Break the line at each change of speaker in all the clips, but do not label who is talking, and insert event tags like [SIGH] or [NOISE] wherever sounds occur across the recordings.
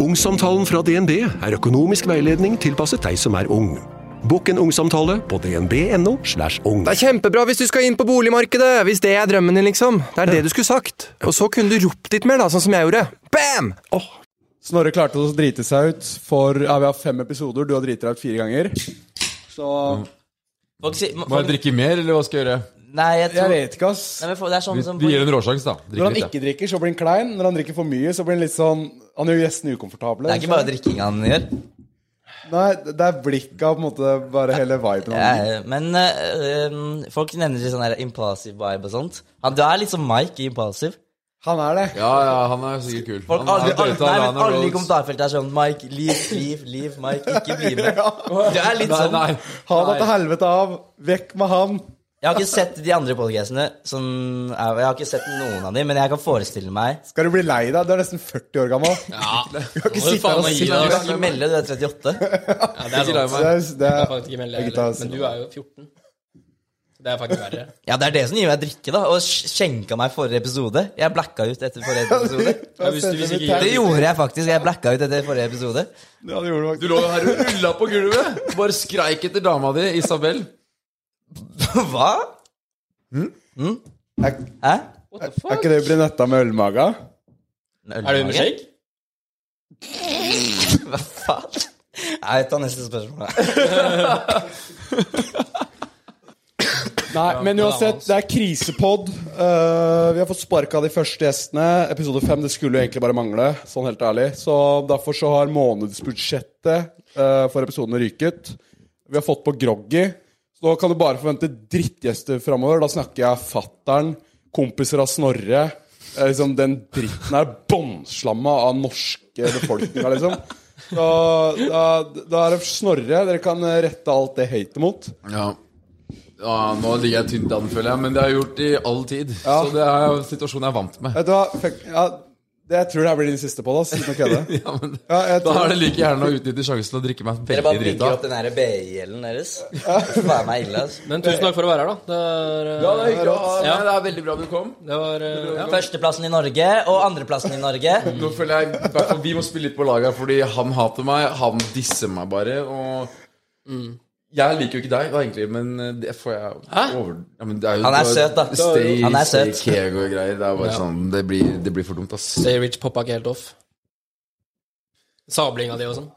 Ungsamtalen fra DNB er økonomisk veiledning tilpasset deg som er ung. Bokk en ungsamtale på dnb.no. slash ung.
Det er kjempebra hvis du skal inn på boligmarkedet! Hvis det er drømmen din, liksom. Det er det du skulle sagt. Og så kunne du ropt litt mer, da, sånn som jeg gjorde. Bam!
Snorre klarte å drite seg ut for ja, Vi har fem episoder, du har driti deg ut fire ganger. Så
Folk sier
Må jeg
folk,
drikke mer, eller hva skal jeg gjøre?
Nei, jeg
jeg
tror Nei,
vet ikke, ass.
men folk, Det er sånn
Vi,
som
vi gir en råsjanse, da.
Når
Drikke
han
litt.
ikke drikker, så blir han klein. Når han drikker for mye, så blir han litt sånn Han gjør gjestene ukomfortable.
Det er ikke bare
sånn.
drikkinga han gjør.
Nei, det er blikket av på en måte bare hele viben.
Ja,
Han.
men eh, um, folk nevner sånn her impulsive vibe og sånt. Han, du er litt som Mike i Impulsive.
han er det.
Ja, ja, han er sikkert kul.
Folk,
Han
alle,
er
alle,
Toyota
nei, men
Lana
alle i
Rhodes.
kommentarfeltet er sånn Mike, liv, liv, liv, Mike, ikke
[LAUGHS]
bli med. Du er litt
Nei,
sånn.
nei.
Ha det til helvete av! Vekk med han!
Jeg har ikke sett de andre podcastene. Sånn, jeg har ikke sett noen av dem, men jeg kan forestille meg.
Skal du bli lei deg? Du er nesten 40 år gammel.
Ja,
Du kan ikke
Nå må du
sitte
faen
her og
meg gi
sitte
Du
deg,
kan
der.
ikke melde, du er 38.
ja, det er
Det
sant.
er, det
Jeg
er,
kan faktisk ikke melde
Jeg
deg
tar
heller, men du
Simon.
er jo 14. Så det er faktisk verre.
Ja, det er det som gir meg drikke, da. Og sk- skjenka meg forrige episode. Jeg blacka ut etter forrige episode.
Ja, hvis du- hvis ikke-
Det gjorde jeg faktisk. Jeg blacka ut etter forrige episode. [LAUGHS]
Ja, det gjorde
Du
du faktisk.
lå jo her og rulla på gulvet! Bare skreik etter dama di, Isabel.
Hva?
Er,
Hæ?
What the
er
fuck?
ikke det brunetta med ølmaga?
Er du med skjegg?
Hva faen? Jeg tar neste spørsmål.
Nei, men uansett, det er krisepod. Eh, vi har fått sparka de første gjestene. Episode fem det skulle jo egentlig bare mangle, sånn helt ærlig. Så derfor så har månedsbudsjettet eh, for episodene ryket. Vi har fått på Groggy. Så nå kan du bare forvente drittgjester framover. Da snakker jeg fattern, kompiser av Snorre. Eh, liksom Den dritten er bånnslamma av norske befolkninga, liksom. Da, da, da er det Snorre dere kan eh, rette alt det hatet mot.
Ja. ja, nå ligger jeg tynt an, føler jeg, men det har jeg gjort i all tid. Så det er jo situasjonen jeg er vant med.
Vet du hva? Fuck, ja, det, jeg tror det her blir din siste på oss. Uten å kødde.
[LAUGHS] Ja, men
Ja, jeg
da
tror-
er det like gjerne å utnytte sjansen til å drikke meg
Dere
veldig
bare
drita.
bygger opp den der BI-gjelden deres. Det er meg ille, altså.
Men tusen takk for å være her, da. Det, er,
Ja,
eh,
det er hyggelig. å ha-
Ja.
Nei, Det er veldig bra du kom.
det var eh, ja.
Førsteplassen i Norge og andreplassen i Norge.
Nå føler jeg i hvert fall Vi må spille litt på lag her, fordi han hater meg. Han disser meg bare. Og
Mm.
jeg liker jo ikke deg, da, egentlig, men det får jeg over... Ja, men det er jo,
Han er søt, da.
Stay,
Han er søt.
Stay keg
[LAUGHS]
og greier. Det er bare
Ja.
sånn det blir, det blir for dumt, ass.
Stay Rich poppa ikke helt off. Sablinga di og sånn.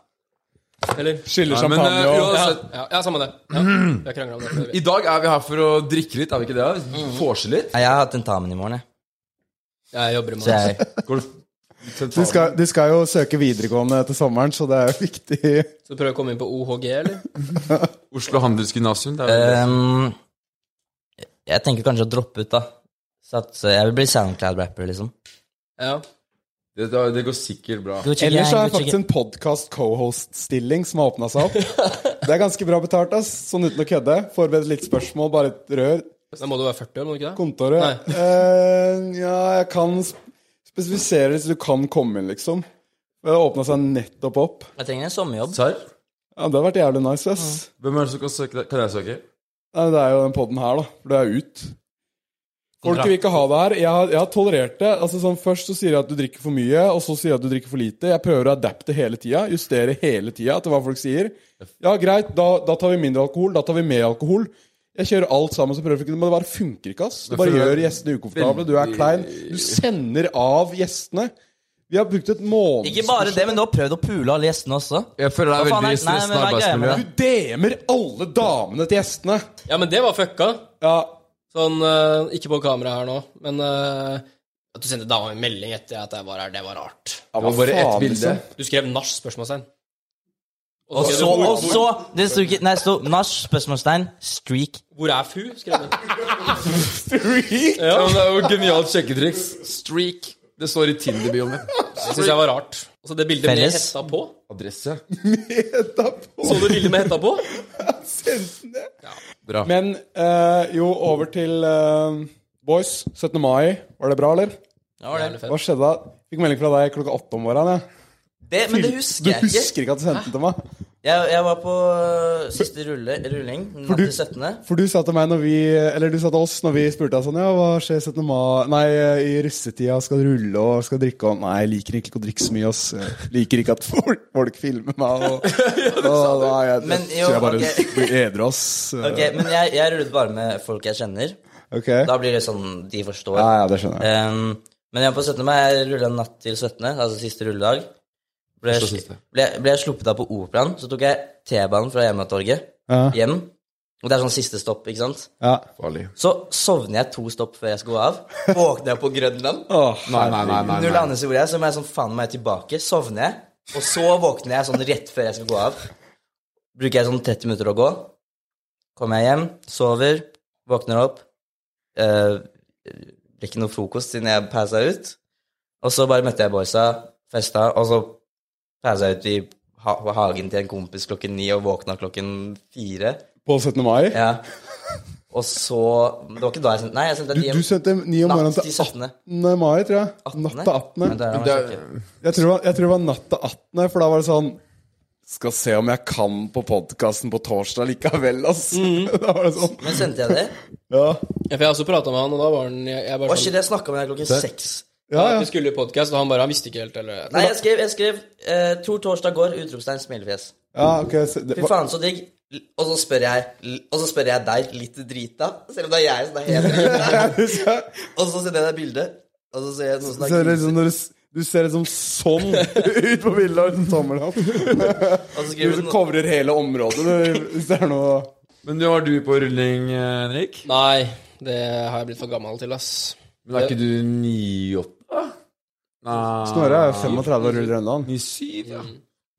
Eller?
Skiller
Nei, men,
champagne
eh,
og
Ja,
uansett,
ja, ja samme det. Ja, vi har krangla om det.
I dag er vi her for å drikke litt, er vi ikke det? da?
Mm.
Vorse litt?
Nei, Jeg har tentamen i morgen, jeg.
Jeg jobber med
Så
det.
jeg
Går det
du skal, du skal jo søke videregående til sommeren, så det er jo viktig.
Så prøv å komme inn på OHG, eller?
Oslo Handelsgymnasium? Det er vel det.
Ehm, Jeg tenker kanskje å droppe ut, da. Så at så jeg vil bli SoundCloud-rapper, liksom.
Ja.
Det, det, det går sikkert bra.
[LAUGHS]
Gucci
Ellers så er
gang,
det
Gucci
faktisk en podcast cohost-stilling som har åpna
[LAUGHS]
seg opp. Det er ganske bra betalt, ass. Sånn uten å kødde. Forbered litt spørsmål, bare et rør.
Da må du være 40, år, må du ikke det?
Kontoret. [LAUGHS] Eh, ja, jeg kan sp- spesifisere hvis du kan komme inn, liksom. Det åpna seg nettopp opp.
gang. Jeg trenger en sommerjobb.
Serr?
Ja, Det hadde vært jævlig nice, ass.
Hvem er det som kan søke deg? Kan jeg søke?
Nei, det er jo den podden her, da. For det er ut. Folk vil ikke ha det her. Jeg har, jeg har tolerert det. Altså sånn, Først så sier jeg at du drikker for mye, og så sier jeg at du drikker for lite. Jeg prøver å adapte hele tida, justere hele tida til hva folk sier. Ja, greit, da, da tar vi mindre alkohol, da tar vi mer alkohol. Jeg kjører alt sammen, så prøver jeg ikke Men det bare funker ikke, ass. Det bare
for det er
gjør gjestene ukomfortable. Du er
veldig-
klein. Du sender av gjestene. Vi har brukt et måned
Ikke bare det, men du har prøvd å pule alle gjestene også.
Jeg føler det
Hva
er
faen er-
veldig
Nei, men
stressende
hva er greia med
arbeidsmiljø.
Du DM-er alle damene til gjestene!
Ja, men det var fucka.
Ja,
Sånn, eh, ikke på kamera her nå, men eh, at du sendte dama en melding etter at jeg var her, det var rart.
Det var bare ett
liksom?
liksom?
[LAUGHS]
bilde.
Du skrev nach? spørsmålstegn.
Og så, og så Det sto ikke Nei, det sto nach, spørsmålstegn, streak.
Hvor er fu? skrev du.
Ja. men det er jo et genialt sjekketriks. Streak. Det står i Tinder-bioen min.
Det syns jeg var rart. Og så det bildet med
Felles.
hetta på.
[LAUGHS] Adresse.
Så du bildet med hetta på?
Bra.
Men eh, jo, over til eh, Boys. 17. mai, var det bra, eller?
Det var det.
Hva skjedde da? Fikk melding fra deg klokka åtte om morgenen. jeg.
Det, men det
Du
husker jeg ikke.
husker ikke at du sendte den til meg?
Jeg, jeg var på øh, siste rulle, rulling, natt
du-
til 17.
For du sa til meg når vi Eller du sa til oss når vi spurte deg sånn Ja, hva skjer 17. mai Nei, eh, i russetida skal du rulle og skal drikke og Nei, jeg liker ikke å drikke så mye, ass. Jeg liker ikke at folk, folk filmer meg og, og Nei, jeg,
Men
jeg
jo,
tror jeg bare
ok.
blir edru, ass.
Ok, Men jeg, jeg rullet bare med folk jeg kjenner.
Ok?
Da blir det sånn de forstår.
Ja, ja, det skjønner jeg.
Ehm, men jeg var på 17. mai, jeg rulla natt til 17., altså siste rulledag. Ble,
Første og siste.
ble, ble jeg sluppet av på Operaen, så tok jeg T-banen fra Hjemmetorget
Ja.
hjem. Og det er sånn siste stopp, ikke sant?
Ja.
Farlig.
Så sovner jeg to stopp før jeg skal gå av. Våkner jeg på Grønland.
Åh,
Nei, nei, nei. nei,
Null
nei.
anelse hvor jeg er, så må jeg sånn faen meg tilbake. Sovner jeg. Og så våkner jeg sånn rett før jeg skal gå av. Bruker jeg sånn 30 minutter å gå. Kommer jeg hjem, sover, våkner opp. Eh, Blir ikke noe frokost siden jeg passa ut. Og så bare møtte jeg boysa, festa, og så passa jeg ut i ha hagen til en kompis klokken ni og våkna klokken fire.
På 17. mai?
Ja. Og så Det var ikke da jeg sendte Nei, jeg sendte
Du,
et
du sendte ni om morgenen
natt til
til 18.
17.
mai, tror jeg. Natt til 18.
Men det er-
Det er,
Jeg tror, det var- jeg tror det var natt til 18., for da var det sånn Skal se om jeg kan på podkasten på torsdag likevel, ass. [LAUGHS] Da var det sånn.
Men sendte jeg det?
Ja.
Ja, for jeg også prata med han, og da var han Jeg, jeg
Å,
bare
shit,
sånn
jeg snakka med deg klokken seks.
Ja,
ja,
ja.
Vi skulle i podkast, og han bare Han visste ikke helt, eller
Nei, jeg skrev, jeg skrev eh, 'Tor Torsdag går', utropstegn, smilefjes.
ja ok. Så det,
Fy faen, så digg. L- Og så spør jeg l- Og så spør jeg deg, litt drita, selv om det er jeg som er helt drita.
[LAUGHS]
og så sender jeg deg bilde, og så ser jeg noen som
ser
er
det
grise,
liksom, når du, s- du ser liksom sånn [LAUGHS] ut på bildet av en tommel opp.
og så skriver
Du
du noe
covrer hele området du- hvis det er noe
men du var du på rulling, eh, Henrik?
Nei, det har jeg blitt for gammel til, ass.
Men er ikke du 98? Nei
Snorre er 35 og ruller ennå.
97, ja.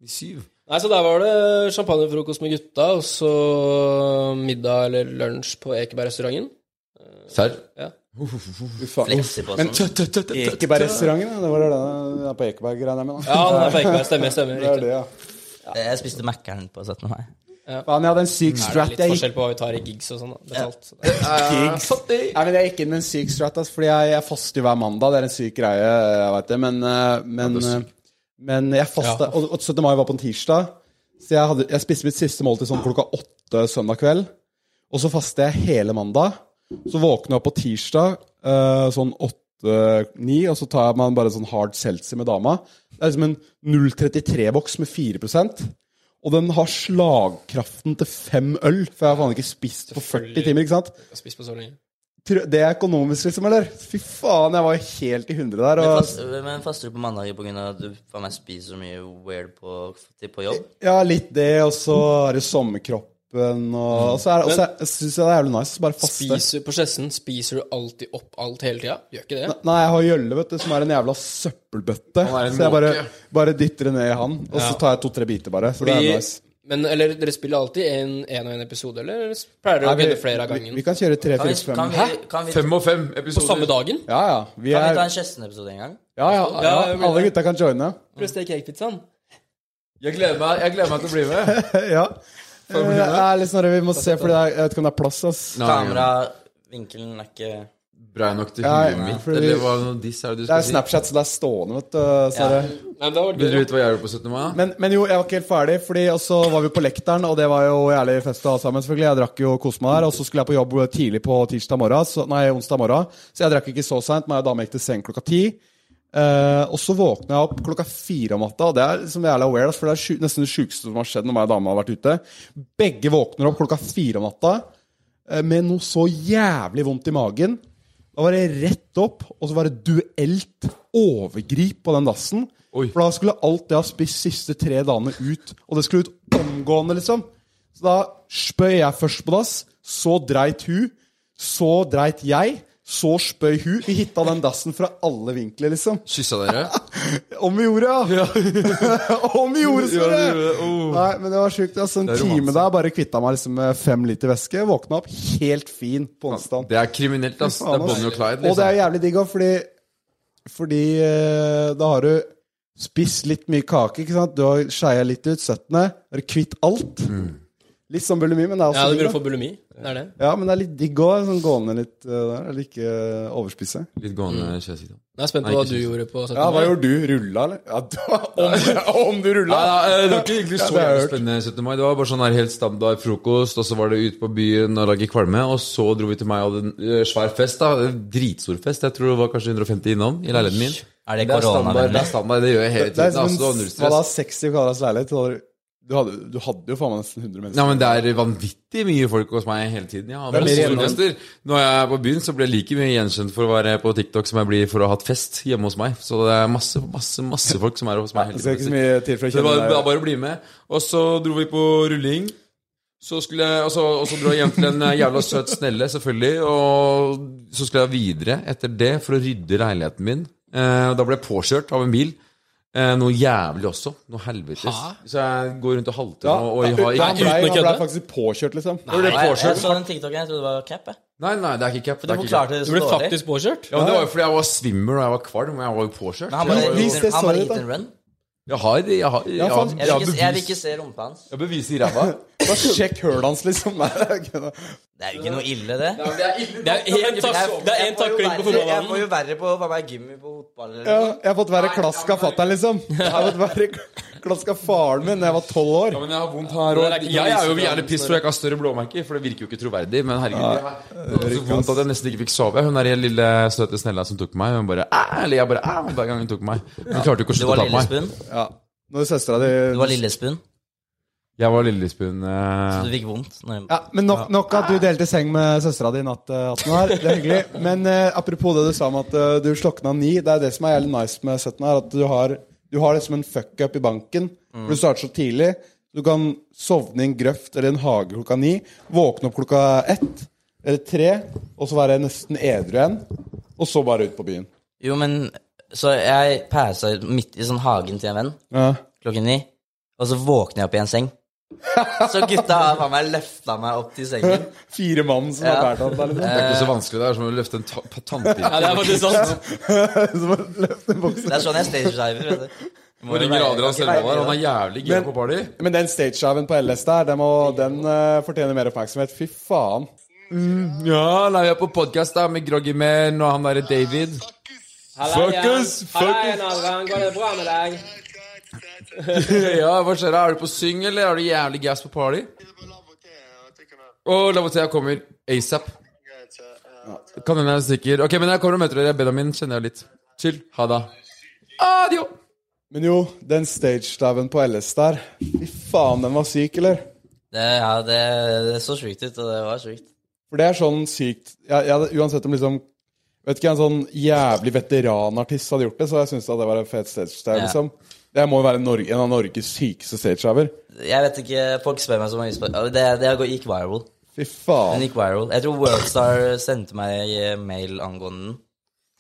97.
Nei, så der var det champagnefrokost med gutta, og så middag eller lunsj på Ekeberg-restauranten.
Serr?
Ja.
flekser på og
Men
sånn.
tø, tø, tø, tø, tø, tø.
Ekeberg-restauranten, det var den den er på Ekeberg, regner jeg med. da.
Ja, den er på Ekeberg. Stemmer, stemmer.
Det er
Riktig.
det, ja.
Jeg spiste Mækkern på 17. mai.
Faen, jeg hadde en syk
Det er
strat.
litt
Jeg gikk
forskjell på hva vi tar i gigs og sånn. da. Betalt. Så det-
Nei, men Jeg gikk inn med en syk strat, ass, fordi jeg, jeg faster jo hver mandag. Det er en syk greie, jeg vet det. Men, eh, men, eh, men jeg fasta og, og 17. mai var på en tirsdag, så jeg, hadde, jeg spiste mitt siste måltid sånn klokka åtte søndag kveld. Og så faster jeg hele mandag. Så våkner jeg opp på tirsdag eh, sånn åtte-ni, og så tar jeg meg bare sånn hard seltzer med dama. Det er liksom en 0,33-boks med 4 og den har slagkraften til fem øl, for jeg har faen ikke spist på 40 timer. ikke sant?
Jeg har spist på så lenge.
Tror- Det er økonomisk, liksom, eller? Fy faen, jeg var helt i hundre der.
Men,
Og,
fast, men faster du på mandager på grunn av at du faen meg spiser så mye weird på, til- på jobb?
ja, litt det, og så er det sommerkroppen, og, og så, er, og så er, syns jeg det er jævlig nice å bare faste.
Spiser, på Skjessen spiser du alltid opp alt hele tida? Gjør ikke det?
Nei, jeg har Jølle, vet du, som er en jævla søppelbøtte.
Han er en
Så jeg bare,
måke.
bare dytter det ned i han, og så
Ja.
tar jeg to-tre biter, bare. Så det er
Fordi-
nice.
Men eller, dere spiller alltid en, en og en episode, eller pleier dere å
Nei,
kødde flere av
vi,
gangen?
vi kan kjøre tre,
Kan
fire,
vi, kan
fem.
vi, kan vi, kan vi,
Fem og fem
På
episoder.
samme dagen?
Ja, ja. Vi er,
ta
ja,
en Kjessen-episode en gang?
ja, ja,
Ja, jeg vil
alle
det.
gutta kan joine.
Prøvstek cakepizzaen.
Jeg gleder meg, jeg gleder meg til å bli med.
Ja. Eh, Det er litt snarere, vi må se, for jeg vet ikke om det er plass, ass.
Nei,
Kameravinkelen er ikke
Brei nok til
Ja,
huet mitt.
fordi-
Eller hva er det noe diss er det du
Det
skal
er
si?
Snapchat, så det er stående, vet du. Så er det...
Nei, men det var
Vil du
gøy. da.
vite hva jeg gjorde på 17. mai? da?
Men, men jo, jeg var ikke helt ferdig, Fordi og så var vi på lekteren, og det var jo jævlig fest å ha sammen. selvfølgelig Jeg drakk jo og koste meg der, og så skulle jeg på jobb eh, tidlig på tirsdag morgen, så, nei, onsdag morgen. Så jeg drakk ikke så seint, men jeg og dama gikk til seng klokka ti. Eh, og så våkna jeg opp klokka fire om natta, og det er liksom jævla weird, ass, for det er sju- nesten det sjukeste som har skjedd når meg og dama har vært ute. Begge våkner opp klokka fire om natta eh, med noe så jævlig vondt i magen. Da var det rett opp, og så var det duelt overgrip på den dassen.
Oi.
For da skulle alt det jeg har spist siste tre dagene, ut. Og det skulle ut omgående, liksom. Så da spøy jeg først på dass, så dreit hun, så dreit jeg, så spøy hun. Vi hitta den dassen fra alle vinkler, liksom.
Kyssa
[LAUGHS]
dere?
Om vi gjorde, ja! [LAUGHS] Om vi gjorde,
Ja, dere
Snorre!
gjorde det. Oh.
Nei, men det var sjukt. Altså, en
Det er romanse.
time der bare kvitta meg liksom, med fem liter væske. Våkna opp helt fin på onsdag.
Det er kriminelt, ass. Det er Bonnie og Clyde.
Og det er
Liksom.
jævlig digg òg, fordi, fordi eh, da har du spist litt mye kake, ikke sant? Du har skeia litt ut, 17. Har du kvitt alt? Litt sånn bulimi, men det er også
Ja, du
digg,
burde
da.
få bulimi. Det er det.
Ja, men det er litt digg òg. Sånn gående litt eh, der. Eller ikke eh, overspise.
Litt gående kjønnssykdom.
Jeg er spent på
Nei,
hva
ikke
du
synes.
gjorde på 17.
Ja, hva
mai.
gjorde du? Rulla, eller? Ja, da, om, om du rulla?
Nei, nei, eh, det var ikke egentlig så
det har jeg
jævlig
hørt.
spennende 17. mai. Det var bare sånn her helt standard frokost, og så var det ut på byen og lage kvalme. Og så dro vi til meg og hadde en eh, svær fest. da Dritstor fest. Jeg tror det var kanskje 150 innom i leiligheten min.
Er det
Det er standard, det,
koronavennlig?
er standard, det gjør jeg
Det
hele
er
tiden.
som
Altså,
en
null
hva da,
stress.
60 kvadrats leilighet. så hadde Du, du, hadde, du hadde jo faen meg nesten 100 mennesker.
Nei, men Det er vanvittig mye folk hos meg hele tiden. Ja.
Det er mer
Store
igjen.
fester. Når jeg er på byen, så blir jeg like mye gjenkjent for å være på TikTok som jeg blir for å ha hatt fest hjemme hos meg. Så det er masse masse, masse folk som er hos meg hele
det skal ikke så
tiden.
mye til for å
Så det
kjenne
var det var
deg.
bare å bli med. Og så dro vi på rulling. Så skulle jeg, og, så, og så dro jeg hjem til en eh, jævla søt snelle, selvfølgelig. Og så skulle jeg videre etter det for å rydde leiligheten min. Eh, og da ble jeg påkjørt av en bil. Eh, noe jævlig også. Noe helvetes.
Hæ?
Så jeg går rundt og halter
Ja,
nå. Og jeg har
han, ble,
ikke
uten å
han ble
kødde.
faktisk påkjørt, liksom.
Hvor ble
Nei, jeg, jeg
påkjørt?
så den TikToken, jeg trodde det var cap. Jeg.
Nei, nei, det er ikke
Du
cap. Det er ikke cap.
forklarte det
Du
så
ble
dårlig.
faktisk påkjørt?
Ja, men det var jo fordi jeg var svimmel og jeg var kvalm og jeg var jo påkjørt.
Men sånn han bare,
Ja, vis det,
han bare
sorry,
hit
da.
and run.
Jeg har, jeg har,
faen.
jeg har, jeg
Jeg
har
vil ikke, jeg vil
bevis.
ikke se rumpa hans.
Jeg har bevis i ræva.
Bare sjekk hølet hans, liksom. Nei, det er ikke noe.
Det er jo ikke noe ille, det.
Det er én tak- det er én takling
Jeg
på
får
fotballbanen.
jo verre på å være med i gymmy på fotball eller
ja,
noe.
jeg har fått være klask av fatter'n, liksom. Jeg har fått være [LAUGHS] klask av faren min da jeg var tolv år.
Ja, men jeg har vondt her
Det er
og
ikke noe
Jeg er jo
vits i
jævlig
det.
piss for jeg ikke har større blåmerker, for det virker jo ikke troverdig. Men herregud, jeg har- det var så
Riktig, ass.
vondt at jeg nesten ikke fikk sove. Hun der lille søte snella som tok meg, hun bare "Æ", Eller jeg bare "Æ", hver gang hun tok meg. Hun klarte jo ikke å
Du
slutte å
var
ta på meg.
lillespund.
Ja. Når søstera di
Du var lillespund.
Jeg var lillespund. eh,
Du fikk vondt. når-
Ja, men nok, nok at du delte seng med søstera di i natt, eh, Atten, her. Det er hyggelig. Men eh, apropos det du sa om at eh, du slokna ni. Det er det som er jævlig nice med 17 her, at du har, du har det som en fuck-up i banken. For Du starter så tidlig. Du kan sovne i en grøft eller en hage klokka ni, våkne opp klokka ett eller tre, og så være nesten edru igjen, og så bare ut på byen.
Jo, men Så jeg pæsa ut midt i sånn hagen til en venn
Ja.
klokken ni, og så våkner jeg opp i en seng. Så gutta har faen meg løfta meg opp til sengen.
Fire mann som har
Ja.
båret opp der, liksom.
Det er ikke så vanskelig. Det er som å løfte en ta
Ja, det er
tannpirker.
faktisk sant.
liksom. [LAUGHS] Som har løftet en bokser.
Det er sånn jeg stagediver. vet du. Du må jo
Hvor ringer
være- kan
Adrian
ikke
Selvold her?
være-
Han er jævlig gira på party.
Men den stagehaven på LS der, den, må, den eh, fortjener mer oppmerksomhet. Fy faen.
Ja, nei, vi er på podkast med Groggy Man og han derre David. Fuckers, fuckers.
Adrian. Går det bra med deg?
Ja, hva skjer da? Er du på syng, eller er du jævlig gass på party? Og Lavotea kommer asap. Kan hende jeg er sikker. Ok, men jeg kommer og møter dere. Benjamin kjenner jeg litt. Chill. Ha det. Adio!
Men jo, den stagestaven på LS der Fy faen, den var syk, eller?
Det, ja, det, det så sjukt ut, og det var sjukt.
For det er sånn sykt jeg, jeg, hadde- Uansett om liksom Vet ikke, en sånn jævlig veteranartist hadde gjort det, så jeg syns det var en fet stagestav,
Ja.
liksom. Det må jo være Norge, en av Norges sykeste stagehaver.
Jeg vet ikke, Folk spør meg så mange spørsmål. Det, det går- gikk viral.
Fy
Den
faen.
gikk viral. Jeg tror Worldstar sendte meg eh, mail angående den.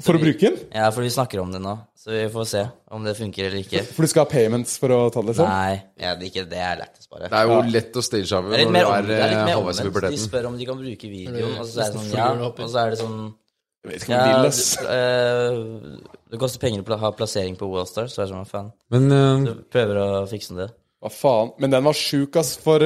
For å bruke den?
Ja, for vi snakker om det nå, så vi får se om det funker eller ikke.
For du skal ha payments for å ta det, liksom?
Nei, ja, det, er ikke, det er lættis bare.
Det er jo lett å stage av
Det er litt
når du
mer, om,
er
det er
eh,
litt mer
halvveis i
omvendt. De
puberteten.
spør om de kan bruke videoen, og så er det sånn
Nesten
ja.
flyr det opp i.
Og så er det sånn
Jeg vet ikke
ja,
om du vil, ass.
du- eh, Det koster penger å pla- ha plassering på Wallstar, så er det sånn, hva faen.
Men eh,
Du prøver å fikse det.
Hva faen? Men den var sjuk, ass, for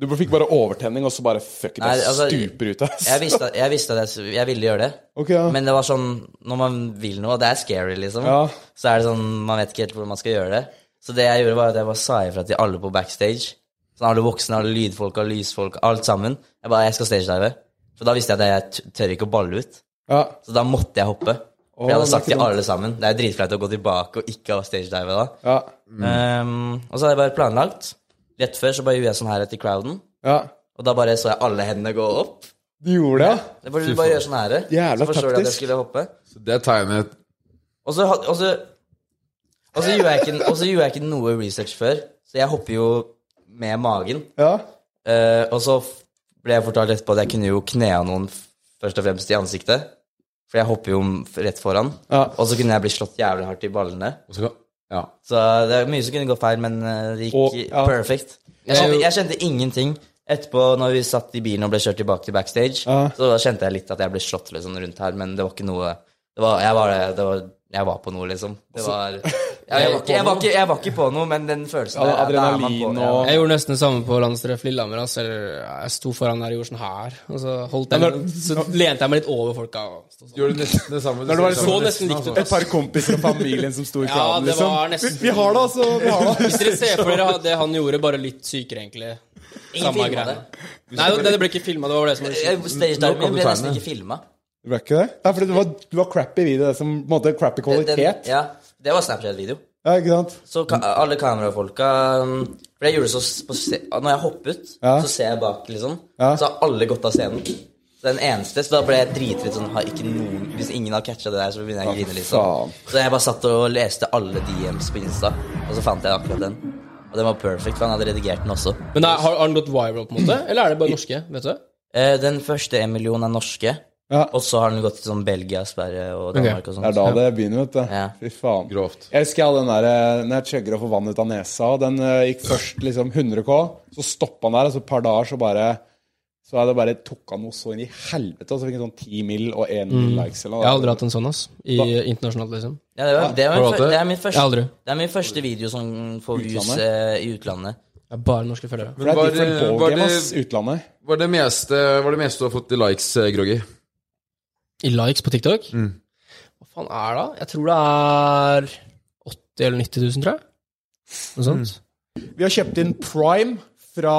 du fikk bare overtenning, og så bare fuck it,
Nei,
jeg
altså,
stuper ut, ass.
Jeg visste, at- jeg visste at jeg, s- jeg ville gjøre det,
Ok, ja.
men det var sånn Når man vil noe, og det er scary, liksom,
Ja.
så er det sånn Man vet ikke helt hvordan man skal gjøre det. Så det jeg gjorde, var at jeg bare sa ifra til alle på backstage. Sånn alle voksne, alle lydfolk, alle lysfolk, alt sammen. Jeg bare Jeg skal stagedive. For da visste jeg at jeg t- tør ikke å balle ut.
ja.
Så da måtte jeg hoppe. For
Åh,
jeg hadde
det er
sagt
ikke
til
dumt.
alle sammen. Det er dritflaut å gå tilbake og ikke ha stagedive da.
Ja.
Ehm, og så hadde jeg bare planlagt. Rett før så bare gjorde jeg sånn her etter crowden.
ja.
Og da bare så jeg alle hendene gå opp.
Du gjorde det, ja?
Det bare, du bare gjør sånn her.
Jævla
så forstår du at jeg
taktisk.
skulle hoppe.
det er tegnet
Og så, had- og så, og så, gjorde jeg ikke, og så gjorde jeg ikke noe research før. Så jeg hopper jo med magen.
Ja.
Eh, og så f- ble jeg fortalt etterpå at jeg kunne jo knea noen f- først og fremst i ansiktet. For jeg hopper jo m- rett foran.
Ja.
Og så kunne jeg bli slått jævlig hardt i ballene.
og så- Ja.
Så det er mye som kunne gått feil, men eh, det gikk
Og- ja.
perfect. Jeg
Jeg er
kjente,
jo-
jeg kjente ingenting. Etterpå, når vi satt i bilen og ble kjørt tilbake til backstage,
Ja.
så da kjente jeg litt at jeg ble slått liksom, rundt her, men det var ikke noe det var, jeg, var, det var, jeg var på noe, liksom. Det var, Jeg, var ikke, jeg, var ikke, jeg var ikke på noe, men den følelsen
Ja,
der, da er man
adrenalin
på, ja.
og-
Jeg gjorde nesten det samme på landstreff Lillehammer. ass. Eller, Jeg sto foran der og gjorde sånn her. Og så, holdt jeg, så lente jeg meg litt over folka. og stod sånn.
Gjorde nesten det samme.
Når det var liksom-
Så nesten likt ut.
Et par kompiser og familien som sto i
Ja,
kranen,
det
liksom.
var nesten-
Vi, vi har det, altså. Vi har det.
Hvis dere ser for dere det han gjorde, bare litt sykere, egentlig.
Ingen
Samme
filma
greie.
det.
Nei, det ble ikke filma. Det var det som var det syke.
Jeg- Stage-timen min ble nesten
Nå kan du
ikke filma.
Det ble ikke det? Nei, fordi du var, du var crappy video. Det som på en måte crappy kvalitet.
Ja, det var Snapchat-video.
Ja, ikke sant?
Så ka
Mm.
alle kamerafolka um, For jeg gjorde det så s- på se Når jeg hoppet,
Ja.
så ser jeg bak, liksom.
Ja.
Så har alle gått av scenen. Den eneste, så da ble jeg dritredd sånn har ikke noen, Hvis ingen har catcha det der, så begynner jeg å grine. liksom
faen.
Så jeg bare satt og leste alle DMs på Insta, og så fant jeg akkurat den. Og den var perfect, for han hadde redigert den også.
Men nei, har, har den gått viral, på en måte? Eller er det bare norske? vet du?
Eh, den første en million er norske,
Ja.
og så har den gått til sånn Belgia, Sverige og Danmark og sånn,
Det
sånt.
er da det begynner, vet du.
Ja.
Fy faen.
Grovt.
Jeg husker jeg hadde den der eh, når jeg chugger og får vann ut av nesa. og Den eh, gikk først liksom 100 K, så stoppa han der, og så et par dager så bare så er det bare tok han noe så inn i helvete, og så fikk han sånn 10 mil og 1 mil likes eller noe.
Jeg har aldri hatt en sånn, ass. I internasjonalt, liksom.
Ja, det, var, det, var
Har
min,
du hatt
fø-
det?
det, er min første,
Ja, aldri.
det er min første video som får views
Utlandet?
eh, i utlandet.
Jeg er bare norske følgere.
For
Men
det
var
er different
det, var,
ballgame, ass,
det,
utlandet.
var, det meste, var det meste du har fått i likes, eh, Groggy?
I likes på TikTok? Hva faen er det? da? Jeg tror det er 80 000 eller 90 000, tror jeg. Noe sånt.
Vi har kjøpt inn Prime fra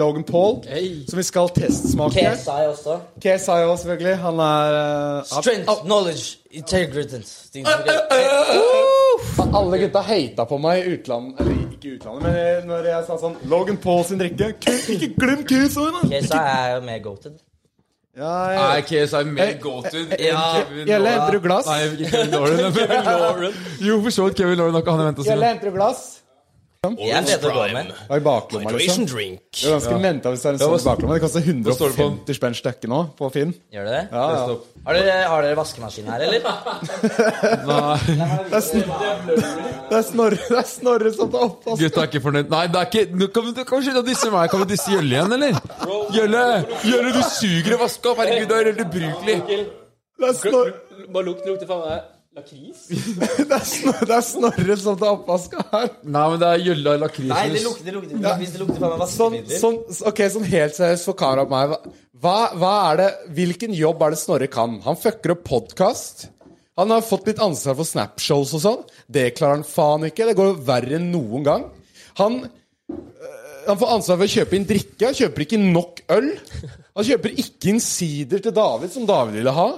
Logan Paul,
Hey.
som vi skal testsmake.
KSI også.
KSI også, selvfølgelig. Han er eh,
Strength, knowledge, integrity things like that.
Alle gutta hata på meg i utlandet Eller ikke i utlandet, men når jeg sa sånn Logan Paul sin drikke Ku- Ikke glem Q-sonen!
KSI er jo mer goated.
Ja,
Nei,
jeg-
KSI er mer go-to.
Ja.
Gjelle, henter du glass?
Nei, ikke Kevin Lauren. [LAUGHS] Kevin Lauren. Jo, for så vidt Kevin Lauren har ikke han venta
Gjelle, henter du glass?
Jeg er bedre å gå med.
Det er i baklomma, liksom. Det
drink.
er ganske menta hvis det er en sånn i baklomma. Det koster
står det på den?
150 spenn stykket nå, på Finn.
Gjør du det?
Ja, ja.
seg.
Har dere, har dere vaskemaskin her, eller?
Det er Snorre, det er snorre som tar opp altså. oss.
Gutta er ikke fornøyd. Nei, det er ikke Nå kan du kan du slutte å disse meg. Kan du disse Gjølle igjen, eller? Gjølle, Gjølle, du suger i vaska opp. Herregud, du er helt ubrukelig.
Det er Snorre,
Bare lukt lukter faen meg lakris.
[LAUGHS] det er snorre, det er snorre som tar altså. oppvaska her.
Nei, men det er Gjølle av lakris.
Nei, det lukter, det lukter, hvis det lukter faen meg
Sånn,
vaskemidler.
sånn, ok, sånn helt seriøst for Kara og meg. Hva, hva er det, hvilken jobb er det Snorre kan? Han fucker opp podkast. Han har fått litt ansvar for Snapshows og sånn. Det klarer han faen ikke. Det går jo verre enn noen gang. Han, øh, han får ansvar for å kjøpe inn drikke. Han kjøper ikke nok øl. Han kjøper ikke inn sider til David, som David ville ha.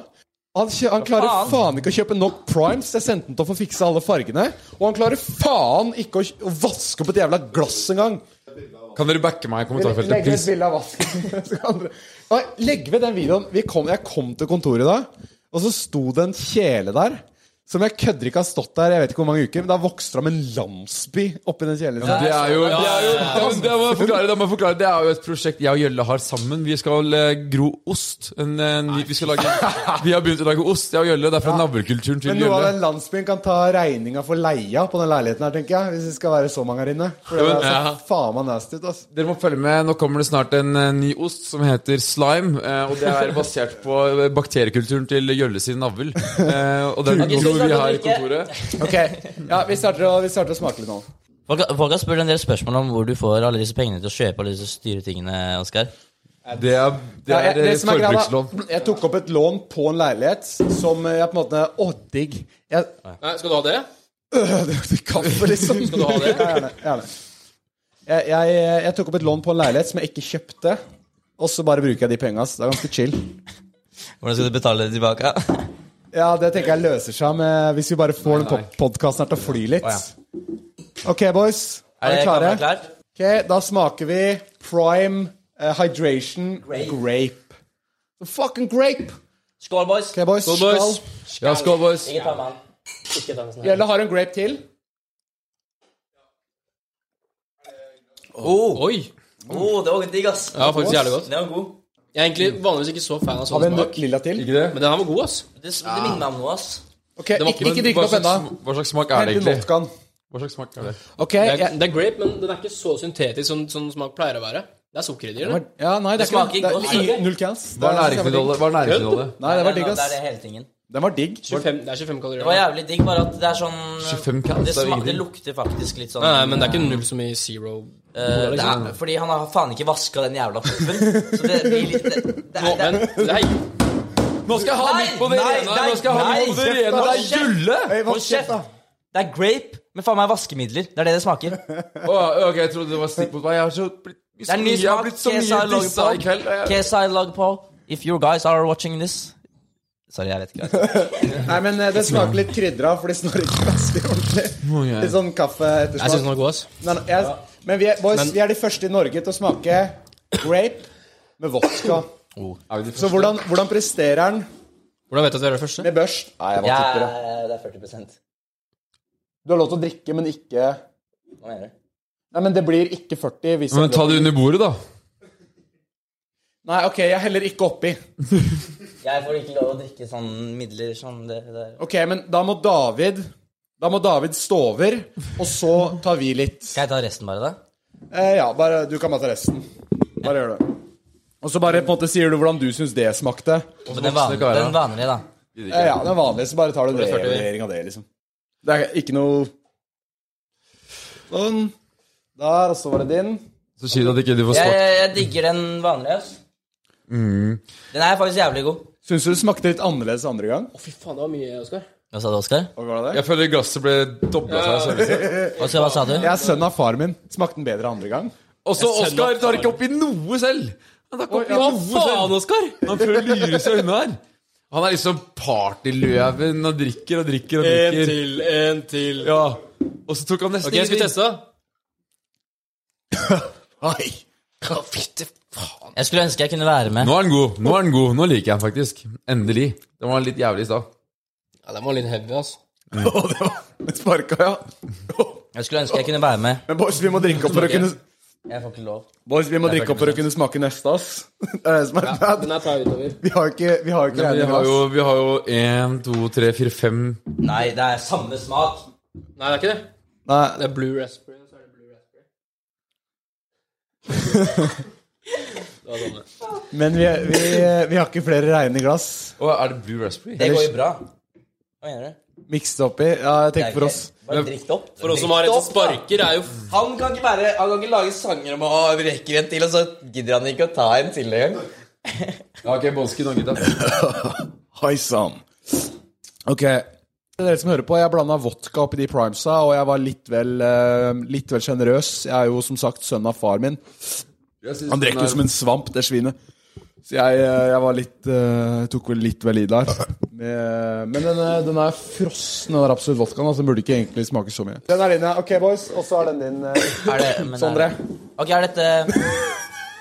Han, kjø, han klarer faen. ikke å kjøpe nok primes. Jeg sendte den til for å fikse alle fargene. Og han klarer faen ikke å, å vaske opp et jævla glass engang.
Kan dere backe meg i kommentarfeltet,
Legg ved et
please?
bilde av vasken. [LAUGHS] Så kan dere- Nei, Legg ved den videoen. Vi kom, jeg kom til kontoret da, og så sto det en kjele der. Som jeg kødder ikke har stått der jeg vet ikke hvor mange uker, men da vokste det om en landsby oppi den kjelen.
Det er jo, det er jo ja, men det, må jeg forklare, det må jeg forklare Det er jo et prosjekt jeg og Gjølle har sammen. Vi skal eh, gro ost. En, en, vi, skal lage,
[LAUGHS]
vi har begynt å lage ost, jeg og Gjølle. Det er fra nabokulturen til
Men noe av
Gjølle.
den landsbyen kan ta regninga for leia på den leiligheten her, tenker jeg. Hvis det skal være så mange her inne. For
Ja,
det
men-
er
ja.
så faen meg nasty ut, altså.
Dere må følge med. Nå kommer det snart en eh, ny ost som heter slime. eh, Og det er basert på eh, bakteriekulturen til Gjølle sin navl. Eh, Og den
så
gror
skal
vi
du
her i
drikke.
kontoret.
Ok, ja, vi starter, å, vi starter å smake litt nå.
Folk, har- folk har spurt en del spørsmål om hvor du får alle disse pengene til å kjøpe alle disse styretingene, Oskar.
Det er, det
Ja, jeg-
er, eh,
som er greia da,
forbrukslån.
Jeg tok opp et lån på en leilighet som jeg på en måte Å, digg. Jeg, Øh,
Nei, skal du ha det?
kaffe, liksom.
[LAUGHS] Skal du ha det?
Ja, gjerne. gjerne. Jeg, jeg, jeg tok opp et lån på en leilighet som jeg ikke kjøpte. Og så bare bruker jeg de penga. Det er ganske chill.
Hvordan skal du betale det tilbake?
Ja, Det tenker jeg løser seg med hvis vi bare får den podkasten her til å fly litt. OK, boys. Er dere
kameraet
klare?
klart?
Ok, Da smaker vi prime eh, hydration grape. The fucking grape!
Skål, boys.
Ok, boys.
Skål, boys.
Skål.
Ja, skål, boys.
Ikke ta med han.
Ikke ta med sånn her.
Gjelle har en grape til.
Oi!
Oh, det var digg, ass.
Ja, faktisk jævlig godt.
Den var god.
Jeg er egentlig vanligvis ikke så fan av
Har
sånn
vi en
smak.
lilla til?
Ikke det?
Men den her var god, ass.
Det, det minner meg om noe, ass.
Ok,
var
Ikke,
ikke-
ikke drikk den
hva,
opp
slags,
ennå.
hva slags smak er det
Hent
egentlig?
vodkaen.
Hva slags smak er det?
Ok,
Det er,
jeg,
det er grape, men den er ikke så syntetisk som som smak pleier å være. Det er sukker i det, eller?
ja, nei, det, er
smaker
ikke det.
godt.
er i- Null cans.
Hva er
Det er-
næringsinnholdet? Hva er næringsinnholdet?
Nei, det var digg,
Det
ass.
er det hele tingen.
Den var digg.
25, det er 25 kalorier.
Det var jævlig digg, bare at det er sånn
25 cans,
det,
det er
sma-
ingenting.
det lukter faktisk litt sånn
Nei, nei, men det er ikke null som i zero.
eh, det er, Fordi han har faen ikke vaska den jævla puppen. Så det blir litt det, det, er- det,
Men
er-
nei,
Nå skal jeg ha
Nei,
mitt på det
nei,
rene!
nei,
Nå skal jeg ha
nei,
mitt på det rene! Det er gulle!
Hey,
Hold kjeft, da. det er grape med faen meg vaskemidler. Det er det det smaker.
Å, ok, jeg trodde det var stikk mot meg. Jeg har så blitt,
Det er ny
jeg har
smak.
blitt så
KSI
mye
lager
dissa i kveld. og
på.
Jeg,
KSI lager på. If you guys are watching this Sorry, jeg vet ikke.
Nei, men eh, det smaker litt krydra, for de snor ikke ganske ordentlig. Litt sånn
jeg syns
kaffeettersmak.
den var god, ass.
Nei, nei, jeg- Men vi er, boys, vi er de første i Norge til å smake grape med vodka.
Oh,
Så hvordan, hvordan presterer den
Hvordan vet du at det er det første?
med børst? Nei, jeg var
Ja,
tippere.
det er 40
Du har lov til å drikke, men ikke
Hva mener du?
Nei, men det blir ikke 40 hvis
men ta det under bordet, da.
Nei, ok, jeg heller ikke oppi.
Jeg får ikke lov å drikke sånne midler som det der.
Ok, men da må David Da må David stå over, og så tar vi litt.
Skal jeg ta resten bare, da?
Eh, ja, bare, du kan bare ta resten. Bare gjør det. Og så bare på en måte sier du hvordan du syns det smakte.
Men den, van
karer, da.
den vanlige, da.
Eh, ja, den vanlige, så bare tar du en revurdering av det, liksom. Det er ikke noe Sånn. Der, og så var det din.
Så sier du at ikke du får
Jeg,
svart.
jeg, jeg digger den vanlige. ass. Den er faktisk jævlig god.
Syns du det smakte litt annerledes andre gang?
Å, fy faen, det var mye, Oskar.
Hva sa du, Oskar?
Hva var det?
Jeg føler glasset ble dobla seg. selv.
Oskar, hva sa du?
Jeg er sønn av far min. Smakte den bedre andre gang?
Også Oskar tar ikke oppi noe selv! Han tar ikke oppi
Hva
noe
faen,
selv!
Oskar?
Han prøver å lure seg unna her. Han er liksom partyløven og drikker og drikker og drikker.
en til.
Ja. Og så tok han nesten
Ok, jeg skulle
ingenting.
teste.
Oi.
Å, fytti faen.
Jeg skulle ønske jeg kunne være med.
Nå er den god. Nå er den god. Nå liker jeg den faktisk. Endelig. Den var litt jævlig i stad.
Ja, den var litt heavy, [LAUGHS] ass.
Den sparka, ja.
Jeg skulle ønske jeg kunne være med.
Men boys, vi må drikke opp for å kunne
Jeg får ikke lov.
Boys, vi må drikke opp for å kunne smake neste, ass. [LAUGHS] Det er det som er bad.
Den er fra utover.
Vi har ikke, vi har ikke
Vi
regnet
har
glass.
jo, vi har jo en, to, tre, fire, fem
Nei, det er samme smak.
Nei, det er ikke det.
Nei,
Det er blue raspberry. og så er det blue raspberry. Det var sånn det.
men vi, vi, eh, vi har ikke flere reine glass.
Å, er det Blue Raspberry?
Det går jo bra. Hva mener du?
Mikset oppi. Ja, jeg
Det er
tenker for
ikke-
oss.
Bare drikk det opp.
For oss som har en som sparker, er jo
Han kan ikke være Han kan ikke lage sanger om å rekke en til, og så gidder han ikke å ta en til engang.
Ja, ok, Bånsky nå, gutta.
Hei sann. Ok. Til Dere som hører på, jeg blanda vodka oppi de primesa, og jeg var litt vel, eh, litt vel sjenerøs. Jeg er jo som sagt sønn av far min.
Jeg synes
Han
den
drikker
er-
jo som en svamp, det svinet. Så jeg, eh, jeg var litt eh, Tok vel litt vel i der. Med- Men den, eh, den er frossen, den der absolutt vodkaen. Altså, den burde ikke egentlig smake så mye. Den er din, ja. Ok, boys. Og så er den din, eh,
Er det, men
Sondre.
Er, ok, er dette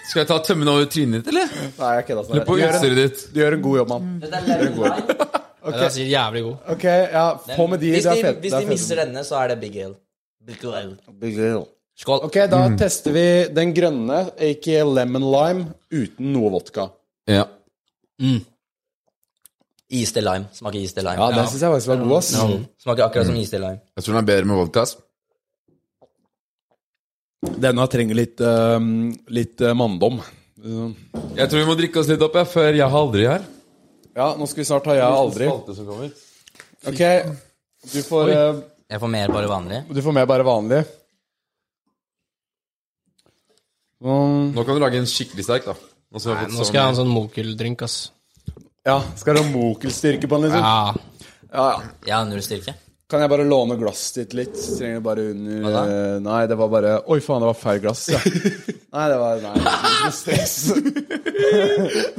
Skal jeg ta tømmen over trynet ditt, eller?
Nei, jeg kødda.
På utstyret Mm. ditt.
Du gjør en god jobb, mann.
Dette er
[LAUGHS]
lemon lime.
Den er sikkert jævlig god.
Ok, ja, Få med de.
Hvis
Det er
de,
fett.
hvis de mister denne, så er det big ale. Big ale.
mister
Skål.
Ok, da tester vi den grønne, aka lemon lime, uten noe vodka.
Ja.
Is til lime. Smaker is til lime. Mm.
Ja, den syns jeg faktisk var god, ass.
Smaker akkurat som is til lime.
Jeg tror den er bedre med vodka. ass.
Denne trenger litt, øhm, litt øh, manndom.
Jeg tror vi må drikke oss litt opp, ja, før jeg har aldri her.
Ja, nå skal vi snart ha jeg aldri. Ok, du får, øh,
Jeg får mer bare vanlig.
du får med bare vanlig. Sånn.
Nå kan du lage en skikkelig sterk, da. Nå skal jeg,
Nå skal jeg ha en sånn Mokel-drink, ass.
Ja, skal du ha mokelstyrke på den, liksom?
Ja.
Ja, ja.
Jeg har null styrke.
Kan jeg bare låne glasset ditt litt? Trenger det bare under eh, Nei, det var bare Oi, faen, det var feil glass. [LAUGHS] Ja. nei, det var Nei, ikke noe stress.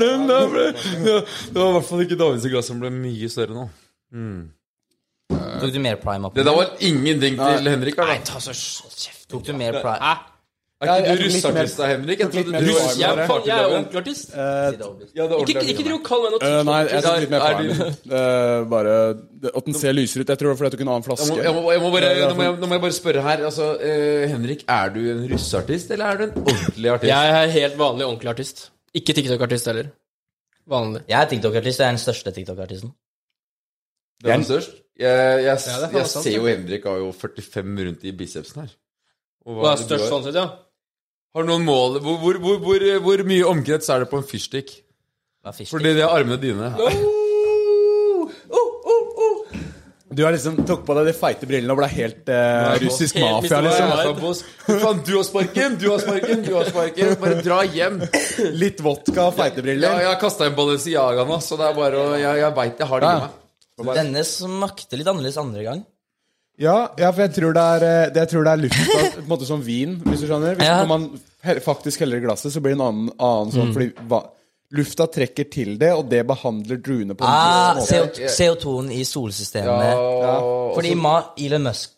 Den der ble, ja, det var i hvert fall ikke Davids glass som ble mye større nå.
Tok du mer prime opp?
Det der var ingenting til Henrik. her, da.
Ta så kjeft.
Tok du mer prime?
Hæ?
Er
Jeg-
ikke du
jeg- litt
russeartist da, Henrik? Jeg trodde
mer
du
varm,
var
Jeg er
Ja,
jeg er
partyløven.
ordentlig artist.
liksom.
Ja, det er
Ikke,
ordentlig.
ikke driv og kall meg noe
Eh, nei, jeg
Nei,
tok litt mer
Sånn, er
prime. Eh, bare det- At den ser lysere ut. Jeg tror det var fordi jeg tok en annen
Jeg må,
flaske.
jeg, må, jeg må bare,
Ja, det er
nå, må jeg, nå må jeg bare spørre her. Altså, eh, Henrik, er du en russeartist, eller er du en ordentlig artist?
Jeg er helt vanlig ordentlig artist. Ikke TikTok-artist heller. Vanlig.
Jeg er TikTok-artist. Jeg er den største TikTok-artisten.
Hvem er størst? Jeg, jeg,
Ja, det er faen
jeg
sant,
ser
det.
jo Henrik har jo 45 rundt i bicepsen her. Og
Hva
er
er
det du har?
størst sånn sett, ja?
Har du noen mål? Hvor, hvor, hvor, hvor, hvor mye omkrets er det på en fyrstikk?
Hva er fish
Fordi det er armene dine.
Oh, oh,
Du har liksom tok på deg de feite brillene og ble helt eh, russisk mafia, liksom.
Faen, du har sparken, du har sparken, du har sparken. Bare dra hjem.
Litt vodka og feite
sånn- Ja,
briller.
jeg har kasta inn Balenciaga nå, så det er bare å Jeg, jeg veit jeg har det i meg.
Denne smakte litt annerledes andre gang.
Ja, ja, for jeg tror det er, eh, det, jeg tror det er luft av på en måte som vin, hvis du skjønner. Hvis
Ja. Mm.
Når man he- faktisk heller i glasset, så blir det en annen, annen sånn fordi va, lufta trekker til det, og det behandler druene på en
Ah,
god måte.
CO2-en i solsystemene.
Ja, Eh,
Fordi Ma- Elon Musk